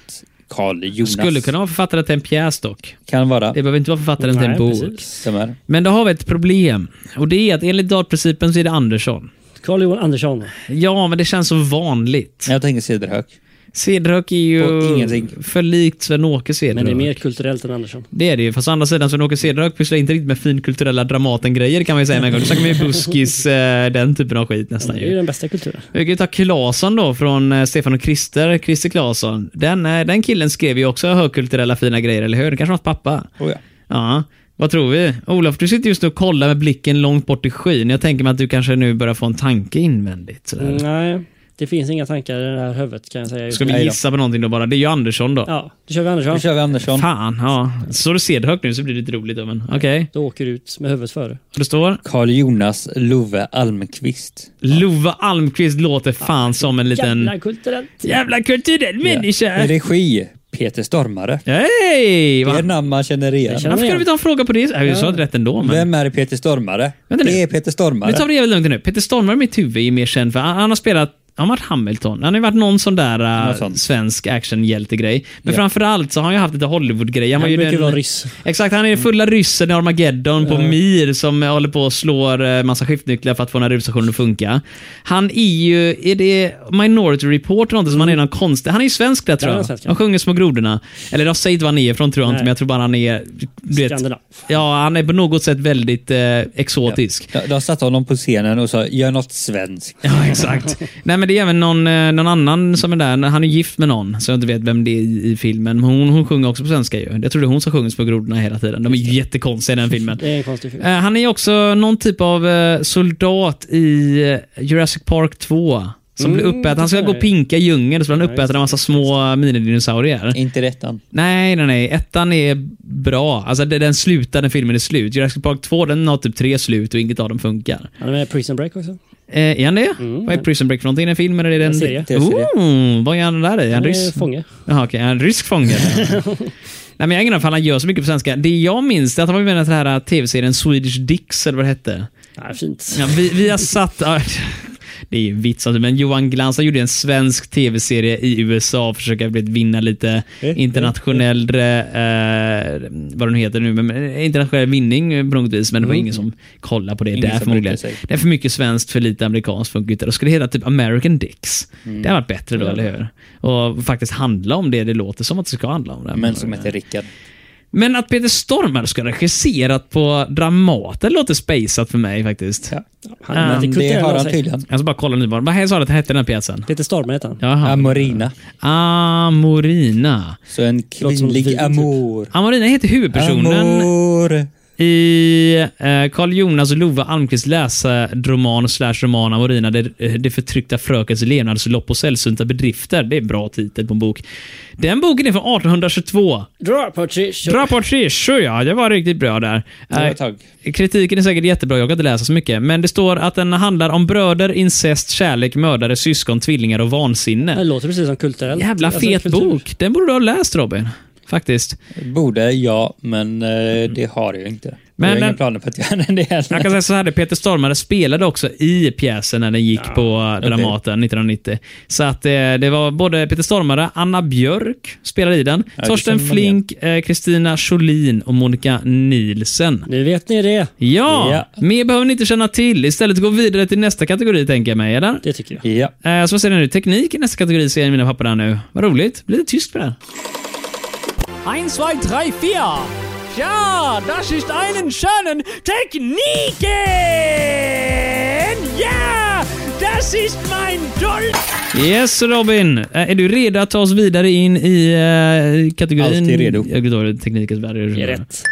Speaker 1: Karl Jonas?
Speaker 5: Skulle kunna vara författare till en pjäs dock.
Speaker 1: Kan vara.
Speaker 5: Det behöver inte vara författaren till en
Speaker 3: Nej,
Speaker 5: bok.
Speaker 3: precis.
Speaker 1: Stämmer.
Speaker 5: Men då har vi ett problem. Och det är att enligt dartprincipen så är det Andersson.
Speaker 3: Carl Johan Andersson.
Speaker 5: Ja, men det känns så vanligt.
Speaker 1: Jag tänker Cederhök.
Speaker 5: Cederhök är
Speaker 1: Och
Speaker 5: ju
Speaker 1: ingenting.
Speaker 5: för likt Sven-Åke
Speaker 3: Men
Speaker 5: Cederhök.
Speaker 3: det är mer kulturellt än Andersson.
Speaker 5: Det är det ju. Fast å andra sidan Sven-Åke Cederhök pysslar inte riktigt med finkulturella Dramaten-grejer kan man ju säga med en gång. Då snackar vi buskis, eh, den typen av skit nästan
Speaker 3: Det är ju
Speaker 5: ju.
Speaker 3: den bästa kulturen.
Speaker 5: Vi kan ju ta Claesson då från eh, Stefan och Christer, Christer Claesson. Den, eh, den killen skrev ju också högkulturella fina grejer, eller hur? Det kanske var hans pappa?
Speaker 1: Oh, ja.
Speaker 5: Ja, vad tror vi? Olof, du sitter just nu och kollar med blicken långt bort i skyn. Jag tänker mig att du kanske nu börjar få en tanke invändigt. Sådär.
Speaker 3: Mm, Nej, det finns inga tankar i det här huvudet kan jag säga. just
Speaker 5: Ska
Speaker 3: nu.
Speaker 5: vi gissa på någonting då bara? Det är ju Andersson då.
Speaker 3: Ja, då kör vi
Speaker 1: Nu
Speaker 3: Andersson.
Speaker 1: kör vi Andersson.
Speaker 5: Fan, ja. Så du Cederhök nu så blir det lite roligt. då, men Okej,
Speaker 3: Då åker du ut med huvudet före.
Speaker 5: det står?
Speaker 1: Karl Jonas Love Almqvist.
Speaker 5: Lova Almqvist låter fan som en liten...
Speaker 3: Jävla kulturellt.
Speaker 5: Jävla kulturell människa!
Speaker 1: Regi Peter Stormare.
Speaker 5: Hej!
Speaker 1: Det är
Speaker 5: Va?
Speaker 1: namn man känner igen.
Speaker 3: Jag känner-
Speaker 5: Varför kan vi ta en fråga på det? Nej, Vi sa inte rätt ändå. Men...
Speaker 1: Vem är Peter Stormare?
Speaker 5: Vänta nu.
Speaker 1: Det är Peter Stormare.
Speaker 5: Nu tar vi det jävligt lugnt nu. Peter Stormare i mitt huvud är ju mer känd för han, han har spelat han har varit Hamilton. Han har ju varit någon sån där eh,
Speaker 1: Någon sån.
Speaker 5: svensk actionhjältegrej. Men
Speaker 1: Ja.
Speaker 5: framförallt så har han ju haft lite Hollywood-grejer.
Speaker 3: Han
Speaker 5: var ju
Speaker 3: brukar
Speaker 5: den-
Speaker 3: vara ryss.
Speaker 5: Exakt, han är fulla ryssen i Armageddon på Mir som håller på och slår eh, massa skiftnycklar för att få den här rymdstationen att funka. Han är ju, är det Minority Report eller någonting som han är någon konstig, han är ju svensk där tror
Speaker 3: han är
Speaker 5: jag.
Speaker 3: svensk, Mm. ja.
Speaker 5: Han sjunger Små grodorna. Eller jag säger inte var han är ifrån tror jag inte,
Speaker 3: Nej.
Speaker 5: men jag tror bara han är, du vet,
Speaker 3: Skandinav.
Speaker 5: ja han är på något sätt väldigt eh, exotisk.
Speaker 1: De, de satte honom på scenen och sa gör något svenskt.
Speaker 5: Ja, exakt. Nej, men det är även någon, eh, någon annan som är där. Han är gift med någon, så jag inte vet vem det är i, i filmen. Men hon, hon sjunger också på svenska ju. Jag tror det är hon som sjunger på grodorna hela tiden. De är ju jättekonstiga i den filmen.
Speaker 3: Det är en konstig film.
Speaker 5: Eh, Han är också någon typ av eh, soldat i eh, Jurassic Park 2. Som blir uppäten. Han ska
Speaker 3: det
Speaker 5: gå
Speaker 3: är-
Speaker 5: och pinka i djungeln, så blir han uppäten av en massa små minidinosaurier.
Speaker 1: Inte rättan.
Speaker 5: Nej, nej, nej. Ettan är bra. Alltså det- den slutar när filmen är slut. Jurassic Park 2 den har typ tre slut och inget av dem funkar.
Speaker 3: Han är med i Prison Break också.
Speaker 5: Eh, är han det? Vad är Prison Break för någonting? Är det en film eller är det en...
Speaker 3: serie.
Speaker 1: Tv-serie.
Speaker 5: Oh, vad är han där i? Är
Speaker 3: Han
Speaker 5: han
Speaker 3: är
Speaker 5: ryss?
Speaker 3: fånge.
Speaker 5: Jaha, okej. Är han rysk fånge? Nej, men jag har ingen aning om han gör så mycket på svenska. Det jag minns är att han var med i den här tv-serien Swedish Dicks, eller vad det hette.
Speaker 3: Nej, fint.
Speaker 5: Ja, vi, vi har satt... ja, Det är ju vits, alltså, men Johan Glans han gjorde en svensk tv-serie i USA för att försöka du vet, vinna lite
Speaker 1: Eh,
Speaker 5: internationell, eh, vad den heter nu, men- men internationell vinning eh, på något vis. Men det var ingen som kollade på det
Speaker 1: Mm. Ingen
Speaker 5: där
Speaker 1: som
Speaker 5: förmodligen.
Speaker 1: brydde sig.
Speaker 5: Det är för mycket svenskt, för lite amerikanskt funkar inte. Då skulle det heta typ American Dicks.
Speaker 1: Mm.
Speaker 5: Det hade varit bättre då, eller hur? Och faktiskt handla om det det låter som att det ska handla om. Det.
Speaker 1: Men som heter Rickard.
Speaker 5: Men att Peter Stormare ska ha regisserat på Dramaten låter spejsat för mig faktiskt.
Speaker 1: Ja.
Speaker 3: Han är
Speaker 5: Ah,
Speaker 3: lite
Speaker 1: Men det
Speaker 3: kulturell
Speaker 1: har
Speaker 3: av
Speaker 1: han
Speaker 3: sig.
Speaker 1: tydligen.
Speaker 5: Jag ska bara kolla nu bara. Vad här sa du att det hette den här pjäsen?
Speaker 3: Peter Stormare heter han.
Speaker 5: Jaha.
Speaker 1: Amorina.
Speaker 5: Amorina.
Speaker 1: Så en
Speaker 3: vin,
Speaker 1: kvinnlig
Speaker 3: typ.
Speaker 1: amor.
Speaker 5: Amorina heter huvudpersonen
Speaker 1: Amor.
Speaker 5: i eh, Carl Jonas och Lova Almqvists läsardroman slash roman Amorina. Det, det förtryckta frökens levnadslopp och sällsynta bedrifter. Det är en bra titel på en bok. Den boken är från 1822.
Speaker 3: Dra på Trish.
Speaker 5: Dra på Trisho, ja. Det var riktigt bra där.
Speaker 1: Det var
Speaker 5: Eh,
Speaker 1: ett tag.
Speaker 5: Kritiken är säkert jättebra, jag kan inte läsa så mycket. Men det står att den handlar om bröder, incest, kärlek, mördare, syskon, tvillingar och vansinne.
Speaker 3: Det låter precis som kulturellt.
Speaker 5: Jävla
Speaker 3: Alltså,
Speaker 5: fet
Speaker 3: kultur.
Speaker 5: bok. Den borde du ha läst Robin. Faktiskt.
Speaker 1: Borde jag, men eh, det har jag inte. jag har
Speaker 5: Men
Speaker 1: inga
Speaker 5: den,
Speaker 1: planer på att göra det
Speaker 5: jag
Speaker 1: heller.
Speaker 5: kan säga så här, det Peter Stormare spelade också i pjäsen när den gick på Dramaten 1990. Så att eh, det var både Peter Stormare, Anna Björk spelade i den,
Speaker 1: det
Speaker 5: Torsten
Speaker 1: känner man igen.
Speaker 5: Flink, eh, Kristina Scholin och Monica Nielsen.
Speaker 3: Nu vet ni det.
Speaker 5: Ja,
Speaker 1: Ja.
Speaker 5: mer behöver ni inte känna till. Istället gå vidare till nästa kategori tänker jag mig, eller?
Speaker 3: Det tycker jag.
Speaker 1: Ja.
Speaker 5: Eh, så vad säger ni nu? Teknik i nästa kategori ser jag i mina papper där nu. Vad roligt. Blir lite tyst på den.
Speaker 6: Eins, zwei, drei, vier. Ja, das ist einen schönen Techniken. Ja, das ist mein Dolch.
Speaker 5: Yes Robin! Eh, Är du redo att ta oss vidare in i eh, kategorin?
Speaker 1: Alltid redo.
Speaker 5: Jag går teknikens värld.
Speaker 3: Det är rätt.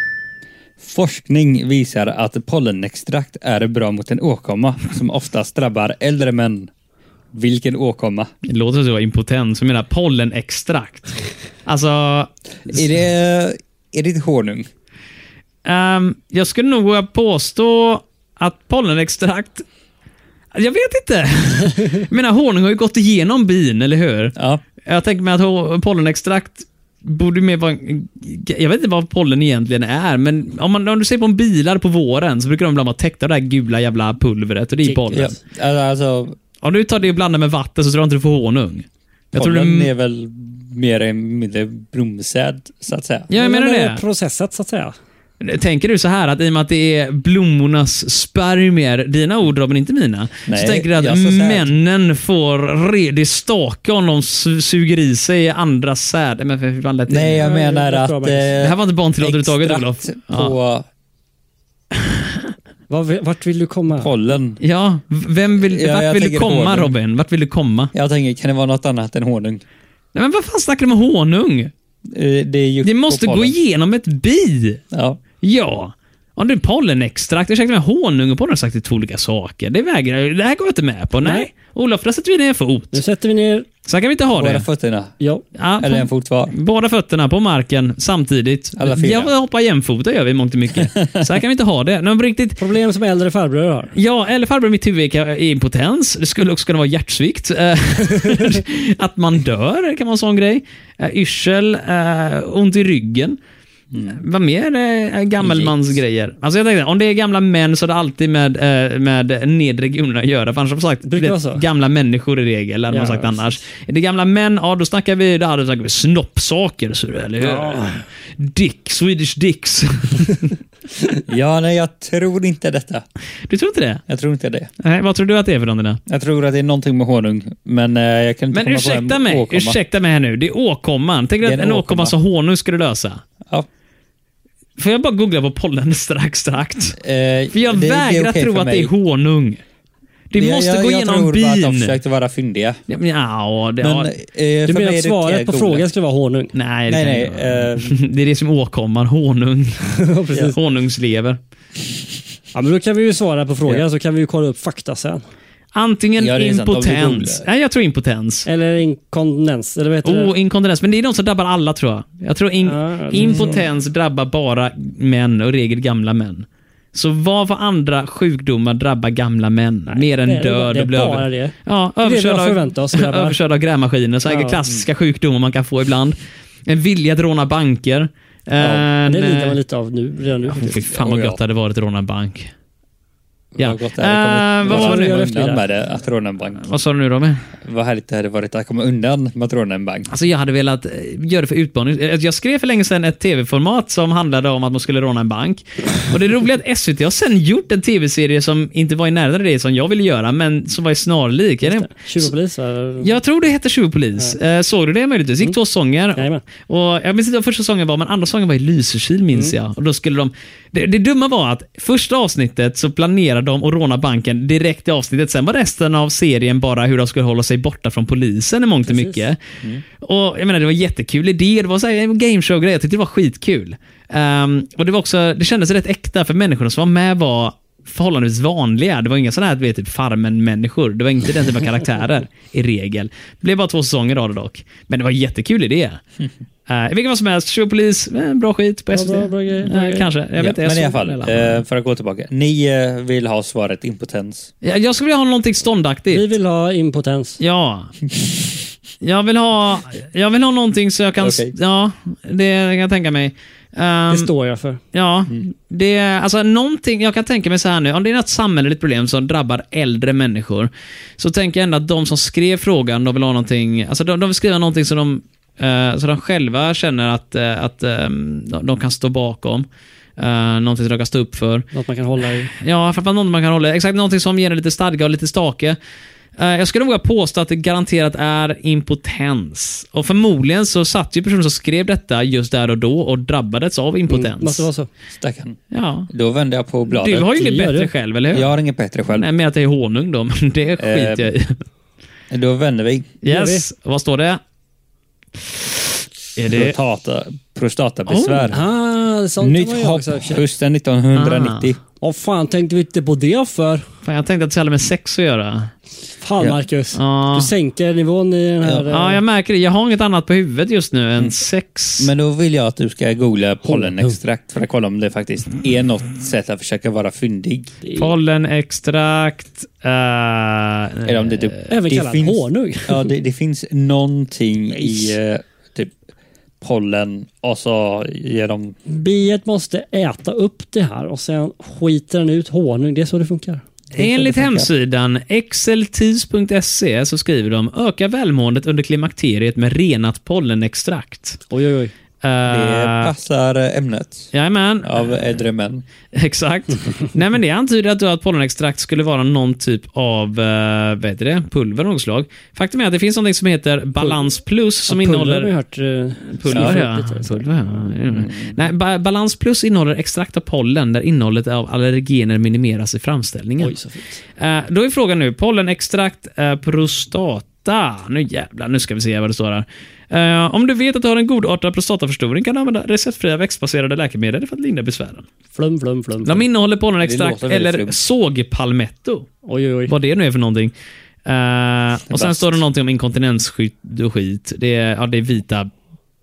Speaker 1: Forskning visar att pollenextrakt är bra mot en åkomma som oftast drabbar äldre män. Vilken åkomma?
Speaker 5: Det låter som att jag var impotent, som menar pollenextrakt. Alltså,
Speaker 1: Är det, är det inte honung?
Speaker 5: ehm, jag skulle nog våga påstå att pollenextrakt... Jag vet inte. jag menar, honung har ju gått igenom bin, eller hur?
Speaker 1: Ja.
Speaker 5: Jag tänker mig att ho- pollenextrakt borde mer vara... en- Jag vet inte vad pollen egentligen är, men om, man, om du ser på en bilar på våren så brukar de ibland vara täckta av det här gula jävla pulvret och det är pollen.
Speaker 1: ja. Alltså,
Speaker 5: Om du tar det och blandar med vatten så tror jag inte du får honung. Jag tror
Speaker 1: pollen
Speaker 5: du...
Speaker 1: är väl mer eller mindre bromsäd, så att säga.
Speaker 5: Ja, jag menar
Speaker 3: Men är
Speaker 5: det.
Speaker 3: Processat så att säga.
Speaker 5: Tänker du så här att i och med att det är blommornas spermier, dina ord Robin, inte mina,
Speaker 1: Nej,
Speaker 5: så tänker du att
Speaker 1: jag sa säd.
Speaker 5: männen får redig stake om de su- suger i sig andra säd. Men för fan lät det?
Speaker 1: Nej, jag menar
Speaker 3: det är
Speaker 1: att...
Speaker 3: bra,
Speaker 1: eh,
Speaker 3: Magnus.
Speaker 5: Det här var inte barntillåtet överhuvudtaget Olof.
Speaker 1: extrakt
Speaker 5: Ja.
Speaker 1: på
Speaker 3: Vad- Vart vill du komma?
Speaker 1: pollen.
Speaker 5: Ja, v- vem vill,
Speaker 1: Ja, jag
Speaker 5: vart vill du
Speaker 1: tänker
Speaker 5: komma
Speaker 1: honung.
Speaker 5: Robin? Vart vill du komma?
Speaker 1: Jag tänker, kan det vara något annat än honung?
Speaker 5: Nej, men vad fan snackar du om honung?
Speaker 1: Eh, Det, är ju
Speaker 5: Det måste
Speaker 1: på
Speaker 5: gå
Speaker 1: pollen.
Speaker 5: igenom ett bi.
Speaker 1: Ja.
Speaker 5: Ja. Om du pollenextrakt, ursäkta mig, honung och pollen har sagt det är två olika saker. Det vägrar jag. Det här går jag inte med på. Nej.
Speaker 3: Nej.
Speaker 5: Olof, där sätter vi ner en fot.
Speaker 3: Nu sätter vi ner...
Speaker 5: Så här kan vi inte ha
Speaker 1: Båda
Speaker 5: det.
Speaker 1: fötterna.
Speaker 3: Ja.
Speaker 5: Ja,
Speaker 1: Eller en
Speaker 5: på,
Speaker 1: fot var.
Speaker 5: båda fötterna på marken samtidigt.
Speaker 1: Alla fyra.
Speaker 5: Jag hoppar jämfota gör vi i mångt och mycket. Så här kan vi inte ha det. Nej, men på riktigt,
Speaker 3: Problem som äldre farbröder har.
Speaker 5: Ja, eller farbror i mitt huvud kan- är impotens. Det skulle också kunna vara hjärtsvikt. Eh, att man dör kan vara en sån grej. Eh, Yrsel, eh, ont i ryggen.
Speaker 3: Mm.
Speaker 5: Vad mer eh, gammelmansgrejer? Alltså jag tänkte, om det är gamla män så är det alltid med, eh, med nedre regionerna att göra. För annars har man sagt
Speaker 3: Brukar vara så.
Speaker 5: gamla människor i regel. Eller
Speaker 3: Ja,
Speaker 5: man sagt
Speaker 3: precis.
Speaker 5: annars. Är det gamla män, ja då snackar vi, då snackar vi snoppsaker. Så, eller hur? Dick, Swedish dicks.
Speaker 1: Ja, nej, jag tror inte detta.
Speaker 5: du tror inte det?
Speaker 1: Jag tror inte det.
Speaker 5: Nej, vad tror du att det är för någonting? då?
Speaker 1: Jag tror att det är någonting med honung, men eh, jag kan inte
Speaker 5: Men
Speaker 1: komma på
Speaker 5: ursäkta
Speaker 1: en
Speaker 5: mig,
Speaker 1: åkomma.
Speaker 5: ursäkta mig här nu. Det är åkomman. Tänk dig
Speaker 1: Det är
Speaker 5: att
Speaker 1: en
Speaker 5: en åkomma
Speaker 1: åkomma.
Speaker 5: som honung skulle lösa.
Speaker 1: Ja,
Speaker 5: Får jag bara googla på pollen strax, strax?
Speaker 1: eh,
Speaker 5: För jag
Speaker 1: det- det är
Speaker 5: vägrar
Speaker 1: okej
Speaker 5: tro
Speaker 1: för
Speaker 5: att
Speaker 1: mig.
Speaker 5: det är honung. Det
Speaker 1: Jag-
Speaker 5: måste
Speaker 1: jag,
Speaker 5: gå
Speaker 1: jag
Speaker 5: igenom
Speaker 1: tror bara att de
Speaker 5: bin.
Speaker 1: försökte vara fyndiga.
Speaker 5: Ja, men, ja, det,
Speaker 1: Men,
Speaker 5: ja,
Speaker 1: eh, för
Speaker 3: Du
Speaker 1: mig
Speaker 3: menar
Speaker 1: är det
Speaker 3: att svaret
Speaker 1: okej
Speaker 3: på
Speaker 1: att googla.
Speaker 3: frågan skulle vara honung?
Speaker 5: nej, det,
Speaker 1: Nej,
Speaker 5: kan
Speaker 1: nej.
Speaker 5: jag inte vara.
Speaker 1: eh,
Speaker 5: det är det som är åkomman. Honung. Honungslever.
Speaker 3: Ja, men då kan vi ju svara på frågan
Speaker 1: Ja.
Speaker 3: så kan vi ju kolla upp fakta sen.
Speaker 5: Antingen
Speaker 1: Ja, det är sant. De blir
Speaker 5: impotens.
Speaker 1: roliga.
Speaker 5: Nej, jag tror impotens.
Speaker 3: Eller inkontinens, eller vad heter det?
Speaker 5: Oh, inkontinens. Men det är de som drabbar alla tror jag. Jag tror in,
Speaker 3: Ja, jag tror
Speaker 5: impotens drabbar bara män och i regel gamla män. Så vad för andra sjukdomar drabbar gamla män? Mer än
Speaker 3: det är-
Speaker 5: död
Speaker 3: det är
Speaker 5: och bli
Speaker 3: bara
Speaker 5: över-
Speaker 3: det.
Speaker 5: Ja,
Speaker 3: är det vi
Speaker 5: överkörd
Speaker 3: har
Speaker 5: av-
Speaker 3: förväntat oss, grabbar.
Speaker 5: Överkörd av grävmaskiner. Så här
Speaker 3: Ja.
Speaker 5: klassiska sjukdomar man kan få ibland. En vilja att råna banker. Ja,
Speaker 3: Men Det lider man lite av nu, redan nu.
Speaker 5: eh, Fy fan vad
Speaker 1: Oh, ja.
Speaker 5: gött det hade varit att råna en bank. Ja.
Speaker 1: Vad gott det hade
Speaker 5: Eh,
Speaker 1: kommit.
Speaker 5: vad var
Speaker 1: Vad
Speaker 5: det nu?
Speaker 1: härligt
Speaker 3: efter det?
Speaker 1: undan med det, att råna en bank.
Speaker 5: Vad sa du nu Robin?
Speaker 1: Vad härligt det hade varit att komma undan med att råna en bank.
Speaker 5: Alltså jag hade velat eh, göra det för utmaning. Eh, Jag skrev för länge sedan ett tv-format som handlade om att man skulle råna en bank. Och det roliga är att SVT har sen gjort en tv-serie som inte var i närheten av det som jag ville göra, men som var snarlik. Är det-
Speaker 3: Tjuv och polis, va?
Speaker 5: Jag tror det hette Tjuvpolis. Eh, Såg du det möjligtvis? Det gick två sånger.
Speaker 3: Jajamän.
Speaker 5: Och jag minns inte vad första sången var, men andra sången var i Lysekil minns jag. Och då skulle de... det, det dumma var att första avsnittet så planerade de att råna banken direkt i avsnittet. Sen var resten av serien bara hur de skulle hålla sig borta från polisen i mångt och mycket. Och jag menar, det var en jättekul idé. Det var så här, en gameshow-grej. Jag tyckte det var skitkul. Ehm, och det, var också, det kändes rätt äkta för människorna som var med var förhållandevis vanliga. Det var inga sådana här du vet, typ farmen-människor. Det var inte den typen av karaktärer i regel. Det blev bara två säsonger av det dock. Men det var en jättekul idé. Uh, vilken var som helst, Tjuvpolis, eh, bra skit på SVT.
Speaker 3: bra- bra grej, bra
Speaker 5: Eh,
Speaker 3: grej.
Speaker 5: Kanske, jag vet inte.
Speaker 1: ja,
Speaker 5: jag
Speaker 1: men i
Speaker 5: såg
Speaker 1: alla fall,
Speaker 5: den hela.
Speaker 1: eh, för att gå tillbaka. Ni eh, vill ha svaret impotens.
Speaker 5: jag, jag skulle vilja ha någonting ståndaktigt.
Speaker 3: Vi vill ha impotens.
Speaker 5: Ja. Jag vill ha, jag vill ha någonting så jag kan...
Speaker 1: Okej.
Speaker 5: Ja, det kan jag tänka mig. Ehm,
Speaker 3: Det står jag för.
Speaker 5: Ja,
Speaker 3: Mm.
Speaker 5: det är alltså någonting, jag kan tänka mig så här nu, om det är något samhälleligt problem som drabbar äldre människor, så tänker jag ändå att de som skrev frågan, de vill ha någonting, alltså de, de vill skriva någonting som de, eh, så de själva känner att, eh, att eh, de, de kan stå bakom. Uh, någonting som de kan stå upp för.
Speaker 3: Något man kan hålla i.
Speaker 5: Ja, framförallt något man kan hålla Exakt någonting som ger en lite stadga och lite stake. Eh, Jag skulle nog vilja påstå att det garanterat är impotens. Och förmodligen så satt ju personen som skrev detta just där och då och drabbades av impotens.
Speaker 3: Mm, Måste vara så.
Speaker 1: Stackarn.
Speaker 5: Ja.
Speaker 1: Då vänder jag på bladet.
Speaker 5: Du har ju inget
Speaker 3: Gör
Speaker 5: bättre
Speaker 3: det.
Speaker 5: själv, eller hur?
Speaker 1: Jag har inget bättre själv.
Speaker 5: Nej, men att det är honung då, men det skiter jag i.
Speaker 1: Då vänder Eh, vi.
Speaker 5: Yes, vad står det? Är det...
Speaker 1: Prostata, prostatabesvär.
Speaker 3: Ah, sånt
Speaker 1: Nytt
Speaker 3: var jag också.
Speaker 1: hopp hösten 1990.
Speaker 5: Ah.
Speaker 3: Vad fan tänkte vi inte på det för?
Speaker 5: Fan, jag tänkte att det hade med sex att
Speaker 1: Eh.
Speaker 5: göra.
Speaker 3: Fan
Speaker 1: Ja.
Speaker 3: Marcus.
Speaker 5: Ja.
Speaker 3: Du sänker nivån i den här...
Speaker 5: Ja,
Speaker 3: eh,
Speaker 5: jag märker det. Jag har inget annat på huvudet just nu än sex.
Speaker 1: Mm. Men då vill jag att du ska googla pollenextrakt för att kolla om det faktiskt är något sätt att försöka vara fyndig.
Speaker 5: Pollenextrakt. eh,
Speaker 1: Eller om det typ,
Speaker 3: Även
Speaker 1: det
Speaker 3: kallad honung.
Speaker 1: Ja, det, det finns någonting i eh, typ pollen och så ger de...
Speaker 3: eh, Biet måste äta upp det här och sen skiter den ut honung. Det är så det funkar.
Speaker 5: eh, Enligt hemsidan exceltis.se så skriver de öka välmåendet under klimakteriet med renat pollenextrakt.
Speaker 3: Oj, oj, oj.
Speaker 1: Det
Speaker 5: Uh,
Speaker 1: passar ämnet
Speaker 5: jajamän.
Speaker 1: av äldre män.
Speaker 5: Exakt. Nej men det antyder att, att pollenextrakt skulle vara någon typ av eh, vad heter det? pulver av något slag. Faktum är att det finns något som heter Balans Plus som
Speaker 3: Ja, Pulver har
Speaker 5: innehåller...
Speaker 3: jag hört. eh,
Speaker 5: Pulver,
Speaker 3: skrivit
Speaker 5: ja.
Speaker 3: lite.
Speaker 5: Pulver, ja. Nej, ba Balans Plus innehåller extrakt av pollen där innehållet av allergener minimeras i framställningen.
Speaker 3: Oj, så fint.
Speaker 5: Eh, då är frågan nu, pollenextrakt, eh, prostata. Nu jävlar, nu ska vi se vad det står här. Eh, om du vet att du har en godartad prostataförstoring kan du använda receptfria växtbaserade läkemedel för att lindra besvären.
Speaker 3: Flum, flum, flum.
Speaker 5: De
Speaker 3: flum.
Speaker 5: innehåller
Speaker 1: Det
Speaker 5: pollenextrakt
Speaker 1: låter väldigt
Speaker 5: eller
Speaker 1: flumt.
Speaker 5: sågpalmetto.
Speaker 3: Oj, oj, oj.
Speaker 5: Vad det nu är för någonting. Eh, och sen
Speaker 1: Bäst.
Speaker 5: står det någonting om inkontinensskydd och skit. Det är, ja, det är vita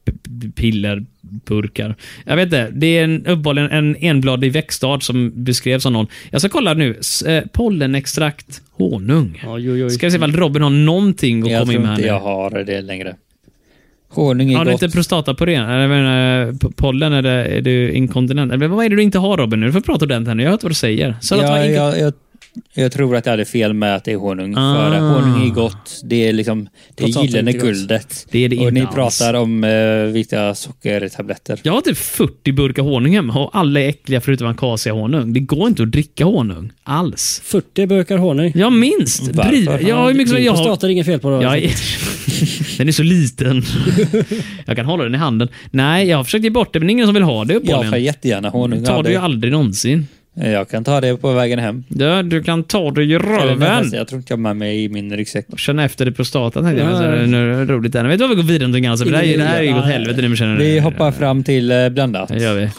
Speaker 5: p- p- piller, burkar. Jag vet inte. Det är en, uppenbarligen en enbladig växtart som beskrevs av någon. Jag ska kolla nu. S- eh, pollenextrakt, honung.
Speaker 3: Oj, oj, oj.
Speaker 5: Ska vi se om Robin har någonting att
Speaker 1: Jag
Speaker 5: komma in
Speaker 1: tror
Speaker 5: med här
Speaker 1: inte
Speaker 5: nu.
Speaker 1: jag har det längre. Honung är
Speaker 5: Har du
Speaker 1: gott.
Speaker 5: inte prostatapurén? Eller, Jag menar, eh, p- pollen, eller är du inkontinent? Eller, vad är det du inte har Robin? Nu? Du får prata ordentligt här nu. Jag har hört vad du säger. Så att
Speaker 1: Ja,
Speaker 5: vara inkon-
Speaker 1: jag, jag, jag tror att jag hade fel med att det är honung.
Speaker 5: Ah.
Speaker 1: För att honung är gott. Det är liksom det är
Speaker 3: Trots allt
Speaker 1: gyllene
Speaker 3: inte gott.
Speaker 1: guldet.
Speaker 5: Det är det
Speaker 1: och
Speaker 5: inte
Speaker 1: ni
Speaker 5: alls.
Speaker 1: pratar om eh, vita sockertabletter.
Speaker 5: Jag har typ 40 burkar honung hemma och alla är äckliga förutom akasia honung. Det går inte att dricka honung alls.
Speaker 3: 40 burkar honung.
Speaker 5: Jag minst.
Speaker 1: Varför?
Speaker 5: Driv, jag har hur mycket som jag
Speaker 3: Jag
Speaker 5: har.
Speaker 3: startar inget fel på det. alltså.
Speaker 5: Jag är, den är så liten. Jag kan hålla den i handen. Nej, jag har försökt ge bort det, men det är ingen som vill ha det
Speaker 1: Jag får
Speaker 5: uppenbarligen.
Speaker 1: jättegärna honung.
Speaker 5: tar
Speaker 1: av
Speaker 5: du ju
Speaker 1: dig.
Speaker 5: aldrig någonsin.
Speaker 1: Jag kan ta det på vägen hem.
Speaker 5: Du, du kan ta det i
Speaker 1: Eller nej,
Speaker 5: röven.
Speaker 1: fast alltså, Jag tror inte jag har med mig i min ryggsäck.
Speaker 5: Känna efter det prostatan tänkte jag. men
Speaker 3: Ja.
Speaker 5: så är det nu roligt där. Vet du vad vi går vidare någonting annat? För Det här, det här är ju åt helvete nu. men känner-
Speaker 1: Vi hoppar fram till eh, blandat.
Speaker 5: Det gör vi.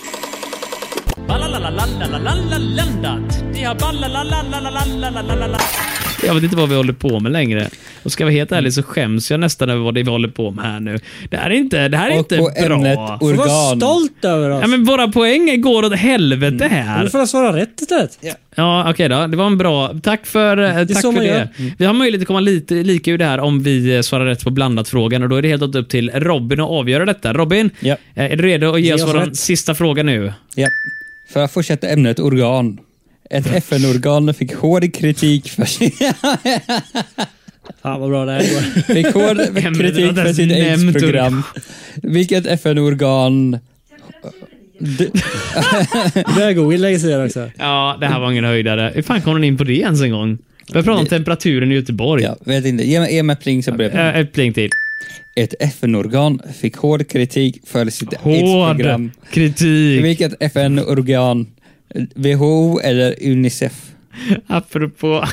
Speaker 5: Jag vet inte vad vi håller på med längre. Och ska jag vara helt ärlig så skäms jag nästan över vad det är vi håller på med här nu. Det här är inte, det här är
Speaker 1: Och
Speaker 5: inte
Speaker 1: på ämnet
Speaker 5: bra.
Speaker 1: organ.
Speaker 3: Var stolt över oss.
Speaker 5: Ja, men våra poäng går åt helvete här.
Speaker 3: Nu Mm. får jag svara rätt istället.
Speaker 5: Ja, okej då. Det var en bra... Tack för, det, tack
Speaker 3: så
Speaker 5: för
Speaker 3: man
Speaker 5: det. Mm.
Speaker 3: gör.
Speaker 5: Vi har möjlighet att komma lite lika ur det här om vi eh, svarar rätt på blandat-frågan. Och Då är det helt upp till Robin att avgöra detta. Robin,
Speaker 1: Ja.
Speaker 5: eh, är du redo att ge
Speaker 3: Ge
Speaker 5: oss
Speaker 3: oss
Speaker 5: vår
Speaker 3: rätt.
Speaker 5: sista fråga nu?
Speaker 1: Ja. För att fortsätta ämnet organ. Ett FN-organ fick hård kritik för sin,
Speaker 3: Fan vad bra det här går.
Speaker 1: fick hård kritik
Speaker 5: inte
Speaker 1: för
Speaker 5: ens
Speaker 1: sitt
Speaker 5: nämnt
Speaker 1: aids-program. Vilket FN-organ... D-
Speaker 3: Börjar Google lägga sig där också.
Speaker 5: Ja, det här var ingen höjdare. Hur fan kom den in på det ens en gång? Vi pratar om temperaturen i Göteborg.
Speaker 1: Ja, vet inte. Ge mig, ge mig pling så blir det.
Speaker 5: Eh, Ett pling till.
Speaker 1: Ett FN-organ fick hård kritik för sitt
Speaker 5: Hård
Speaker 1: aids-program.
Speaker 5: kritik.
Speaker 1: Vilket FN-organ? WHO eller Unicef?
Speaker 5: Apropå...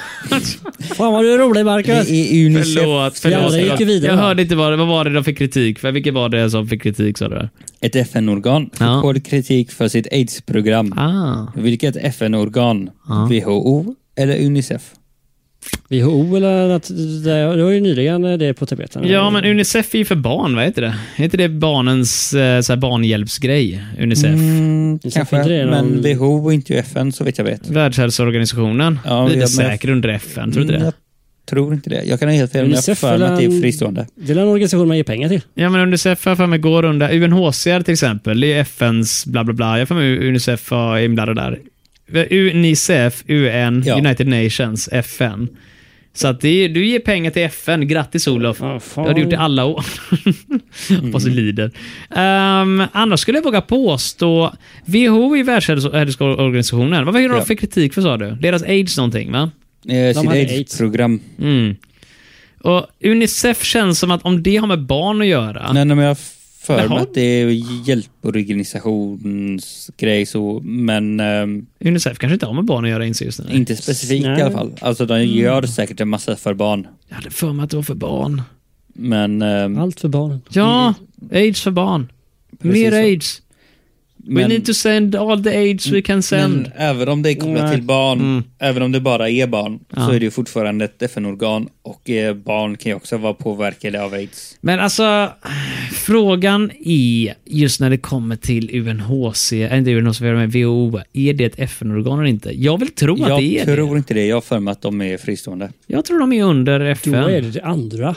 Speaker 3: Fan vad du är rolig
Speaker 1: Det
Speaker 3: Marcus.
Speaker 1: är E Unicef.
Speaker 5: förlåt.
Speaker 3: Ja, det gick ju
Speaker 5: förlåt.
Speaker 3: vidare,
Speaker 5: Jag
Speaker 3: va?
Speaker 5: hörde inte vad det vad var. det de fick kritik för. Vilket var det som fick kritik sa du? där?
Speaker 1: Ett FN-organ fick
Speaker 5: Ja.
Speaker 1: hård kritik för sitt aids-program.
Speaker 5: Ah.
Speaker 1: Vilket FN-organ? WHO eller Unicef?
Speaker 3: WHO eller något. Det det var ju nyligen eh, det på tapeten.
Speaker 5: Ja, men Unicef är ju för barn, vad heter det? Är inte det barnens eh, så här barnhjälpsgrej? Unicef?
Speaker 1: Mm,
Speaker 3: Unicef
Speaker 1: kanske,
Speaker 3: inte det,
Speaker 1: men
Speaker 3: någon-
Speaker 1: WHO är inte ju FN så vet jag vet.
Speaker 5: Världshälsoorganisationen?
Speaker 1: Ja,
Speaker 5: Lyder
Speaker 1: jag-
Speaker 5: säkert under FN, tror du inte
Speaker 1: Mm,
Speaker 5: det?
Speaker 1: jag tror inte det. Jag kan ha helt fel, men jag har
Speaker 3: Unicef
Speaker 1: för mig att det
Speaker 3: eller-
Speaker 1: är fristående. Eh,
Speaker 3: Det är en organisation man ger pengar till.
Speaker 5: Ja, men Unicef har jag för mig går under UNHCR till exempel. Det är ju FNs bla bla bla. Jag har för mig Unicef var inblandad där. Unicef, UN,
Speaker 1: Ja.
Speaker 5: United Nations, FN. Så att det är, du ger pengar till FN. Grattis Olof.
Speaker 3: Ja,
Speaker 5: det
Speaker 3: fan.
Speaker 5: har du gjort i alla år.
Speaker 1: Mm.
Speaker 5: Hoppas du lider. Ehm, annars skulle jag våga påstå WHO är Världshälsoorganisationen. Vad var det de
Speaker 1: Ja.
Speaker 5: fick kritik för sa du? Deras aids någonting va?
Speaker 1: Eh, sitt
Speaker 3: hade
Speaker 1: aids-program.
Speaker 5: Mm. Och Unicef känns som att om det har med barn att göra.
Speaker 1: Nej, nej, men jag har för
Speaker 5: Jaha.
Speaker 1: mig att det är hjälporganisationsgrej så, men ehm,
Speaker 5: Unicef kanske inte har med barn att göra inser just nu.
Speaker 1: inte specifikt
Speaker 3: Nej.
Speaker 1: i alla fall. Alltså de gör säkert en massa för barn,
Speaker 5: Jag hade för mig att det var för barn.
Speaker 1: men ehm,
Speaker 3: Allt för barnen.
Speaker 5: Ja, aids för barn.
Speaker 1: Precis
Speaker 5: Mer
Speaker 1: så.
Speaker 5: aids. We
Speaker 1: Men-
Speaker 5: need to send all the aids we can send.
Speaker 1: Men även om det är kopplat
Speaker 3: Nej.
Speaker 1: till barn,
Speaker 5: Mm.
Speaker 1: även om det bara är barn,
Speaker 5: Ja.
Speaker 1: så är det ju fortfarande ett FN-organ och eh, barn kan ju också vara påverkade av aids.
Speaker 5: Men alltså, frågan är just när det kommer till UNHCR, äh, inte UNHCR, men WHO, är det ett FN-organ eller inte? Jag vill tro att
Speaker 1: Jag
Speaker 5: det är
Speaker 1: tror
Speaker 5: det.
Speaker 1: inte det. Jag har för mig att de är fristående.
Speaker 5: Jag tror de är under
Speaker 3: Då är
Speaker 5: FN.
Speaker 3: det det andra.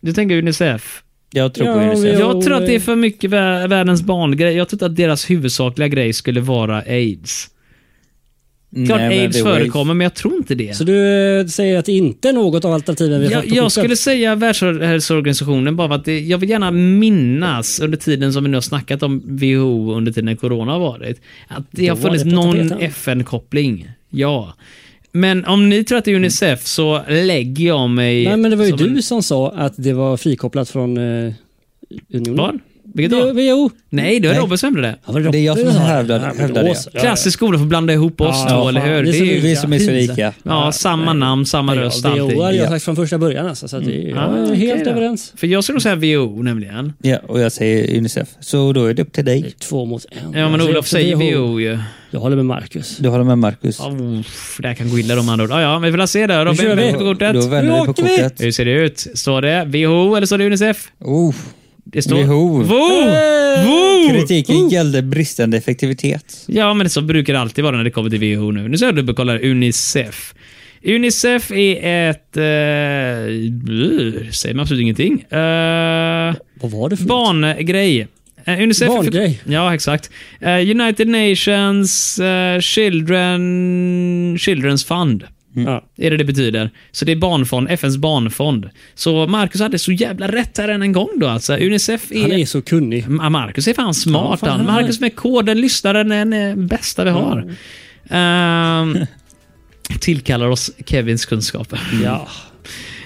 Speaker 5: Du tänker Unicef?
Speaker 1: Jag tror
Speaker 3: Ja,
Speaker 1: på
Speaker 3: vi
Speaker 1: Unicef.
Speaker 3: har-
Speaker 5: Jag tror att det
Speaker 1: eh.
Speaker 5: är för mycket vä- världens barngrej. Jag tror inte att deras huvudsakliga grej skulle vara aids. Klart
Speaker 1: men
Speaker 5: aids
Speaker 1: det var ju-
Speaker 5: förekommer, men jag tror inte det.
Speaker 3: Så du eh, säger att det inte är något av alternativen vi har
Speaker 5: Jag,
Speaker 3: fått på
Speaker 5: jag
Speaker 3: kortet?
Speaker 5: skulle säga Världshälsoorganisationen bara för att det, jag vill gärna minnas under tiden som vi nu har snackat om WHO under tiden corona har varit. Att det
Speaker 3: Då
Speaker 5: har
Speaker 3: var
Speaker 5: funnits
Speaker 3: det på
Speaker 5: någon
Speaker 3: tapeten.
Speaker 5: FN-koppling. Ja. Men om ni tror att det är Unicef så lägger jag mig...
Speaker 3: Nej, men det var ju
Speaker 5: som
Speaker 3: du
Speaker 5: en-
Speaker 3: som sa att det var frikopplat från eh, unionen.
Speaker 5: Var? Vilket
Speaker 3: Jo,
Speaker 5: då?
Speaker 3: jo.
Speaker 5: Nej, det var
Speaker 1: Nej.
Speaker 5: Robert som hävdade det.
Speaker 3: Ja, var det
Speaker 1: Det är jag som
Speaker 3: Robert?
Speaker 1: hävdar-
Speaker 3: Ja, men
Speaker 1: hävdar
Speaker 3: då
Speaker 1: det.
Speaker 3: så. Ja, ja.
Speaker 5: Klassisk skola för att blanda ihop oss
Speaker 3: Ja,
Speaker 5: då, eller
Speaker 3: fan.
Speaker 5: hur?
Speaker 3: Vi
Speaker 5: Det
Speaker 3: som
Speaker 5: är ju-
Speaker 1: vi som är så
Speaker 5: pinsamt.
Speaker 1: lika.
Speaker 5: Ja, samma namn, samma
Speaker 3: Ja,
Speaker 5: röst,
Speaker 3: WHO hade
Speaker 5: allting.
Speaker 3: jag
Speaker 1: Ja.
Speaker 3: sagt från första början alltså, så att det, jag
Speaker 5: Ah,
Speaker 3: är
Speaker 5: okej
Speaker 3: helt
Speaker 5: då.
Speaker 3: överens.
Speaker 5: För jag skulle nog säga WHO nämligen.
Speaker 1: Ja, och jag säger Unicef. Så då är det upp till dig.
Speaker 3: Två mot en.
Speaker 5: Ja, men
Speaker 3: Alltså,
Speaker 5: Olof
Speaker 3: också
Speaker 5: säger
Speaker 3: WHO.
Speaker 5: WHO ju.
Speaker 3: Jag håller med Marcus.
Speaker 1: Du håller med Marcus.
Speaker 5: Ja, uff, det här kan gå illa de andra ord. Ja, ja, men vi får se där. Robin,
Speaker 3: kör vi.
Speaker 5: vänd på kortet.
Speaker 1: Då vänder vi
Speaker 3: Nu
Speaker 1: på
Speaker 3: åker vi!
Speaker 1: kortet.
Speaker 5: Hur ser det ut? Står det WHO eller står det Unicef?
Speaker 1: Oh,
Speaker 5: Det står...
Speaker 1: WHO.
Speaker 5: WHO! WHO!
Speaker 1: kritiken gällde bristande effektivitet.
Speaker 5: Ja, men så brukar det alltid vara när det kommer till WHO nu. Nu ska jag dubbelkolla Unicef. Unicef är ett... Eh, bluh, säger man absolut ingenting. Eh,
Speaker 3: Vad var det för något?
Speaker 5: barngrej. Eh, Unicef
Speaker 3: Barngrej?
Speaker 5: Ja, exakt. Eh, United Nations eh, Children, Children's Fund.
Speaker 3: Ja.
Speaker 5: är det det betyder. Så det är barnfond, FNs barnfond. Så Marcus hade så jävla rätt här än en gång då alltså. Unicef är...
Speaker 3: Han är så kunnig.
Speaker 5: Ma- Marcus är fan smart
Speaker 3: Ja, fan,
Speaker 5: han.
Speaker 3: han är-
Speaker 5: Marcus med koden, lyssnaren, är den bästa vi har. Ehm, tillkallar oss Kevins kunskaper.
Speaker 3: Ja.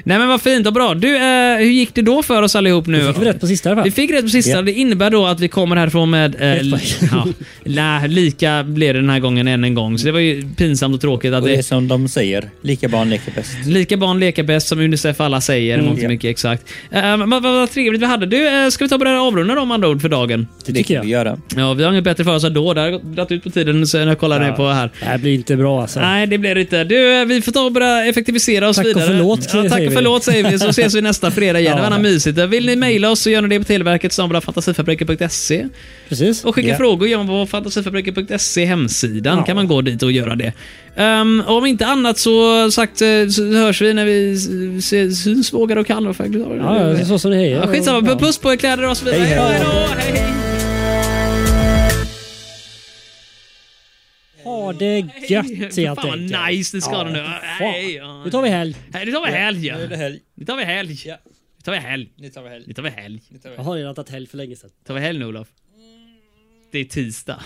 Speaker 5: Nej men vad fint och bra. Du, eh, hur gick det då för oss allihop nu?
Speaker 3: Fick vi rätt på sista i alla
Speaker 5: Vi
Speaker 3: fall?
Speaker 5: fick rätt på sista.
Speaker 1: Ja.
Speaker 5: Det innebär då att vi kommer härifrån med... Eh,
Speaker 3: Ett poäng.
Speaker 5: li- ja, nej, lika blev det den här gången än en gång. Så det var ju pinsamt och tråkigt att
Speaker 1: Och det är
Speaker 5: det...
Speaker 1: som de säger, lika barn leker bäst.
Speaker 5: Lika barn leker bäst som Unicef alla säger. Mm,
Speaker 1: ja.
Speaker 5: mycket exakt. Eh, men vad, vad trevligt vi hade. Du, eh, ska vi ta och börja avrunda då med andra ord för dagen?
Speaker 1: Det,
Speaker 3: tycker
Speaker 1: kan
Speaker 3: jag.
Speaker 1: vi göra.
Speaker 5: Ja, vi har inget bättre för oss då. Det har gått- dragit ut på tiden så när jag kollar ner på här.
Speaker 3: Det här blir inte bra alltså.
Speaker 5: Nej, det blir det inte. Du, eh, vi får ta och börja effektivisera oss
Speaker 3: Tack och
Speaker 5: vidare.
Speaker 3: förlåt,
Speaker 5: ja, Tack
Speaker 3: säger
Speaker 5: och
Speaker 3: vi.
Speaker 5: förlåt säger vi, så ses vi nästa fredag igen. Det var
Speaker 3: Ja.
Speaker 5: gärna mysigt. Vill ni mejla oss så gör ni det på Televerket snabel-a fantasifabriken.se.
Speaker 3: Precis.
Speaker 5: Och skicka
Speaker 1: Ja.
Speaker 5: frågor gör man på fantasifabriken.se hemsidan.
Speaker 3: Ja.
Speaker 5: kan man gå dit och göra det. Ehm, och om inte annat så sagt eh, så hörs vi när vi s- ses, syns, vågar och kan. Och faktiskt,
Speaker 3: Ja, det är så som det är.
Speaker 5: Ja, skitsamma, puss på er, kläder och så vidare.
Speaker 1: Hej, hej.
Speaker 5: Hej då, hej, hej.
Speaker 3: Ha det gött
Speaker 5: Fy
Speaker 3: helt
Speaker 5: Fan
Speaker 3: enkelt.
Speaker 5: vad nice ni ska ha det nu. Nej, ja.
Speaker 3: Fan. Nu tar vi helg.
Speaker 5: Nej, Nu tar vi helg. ja.
Speaker 1: helg.
Speaker 5: Nu tar vi helg.
Speaker 1: Ja.
Speaker 5: Nu tar vi helg.
Speaker 1: Nu tar vi helg.
Speaker 5: Nu tar vi helg. Nu
Speaker 3: Jag har redan tagit helg för länge sedan.
Speaker 5: tar vi helg nu Olof. Det är tisdag.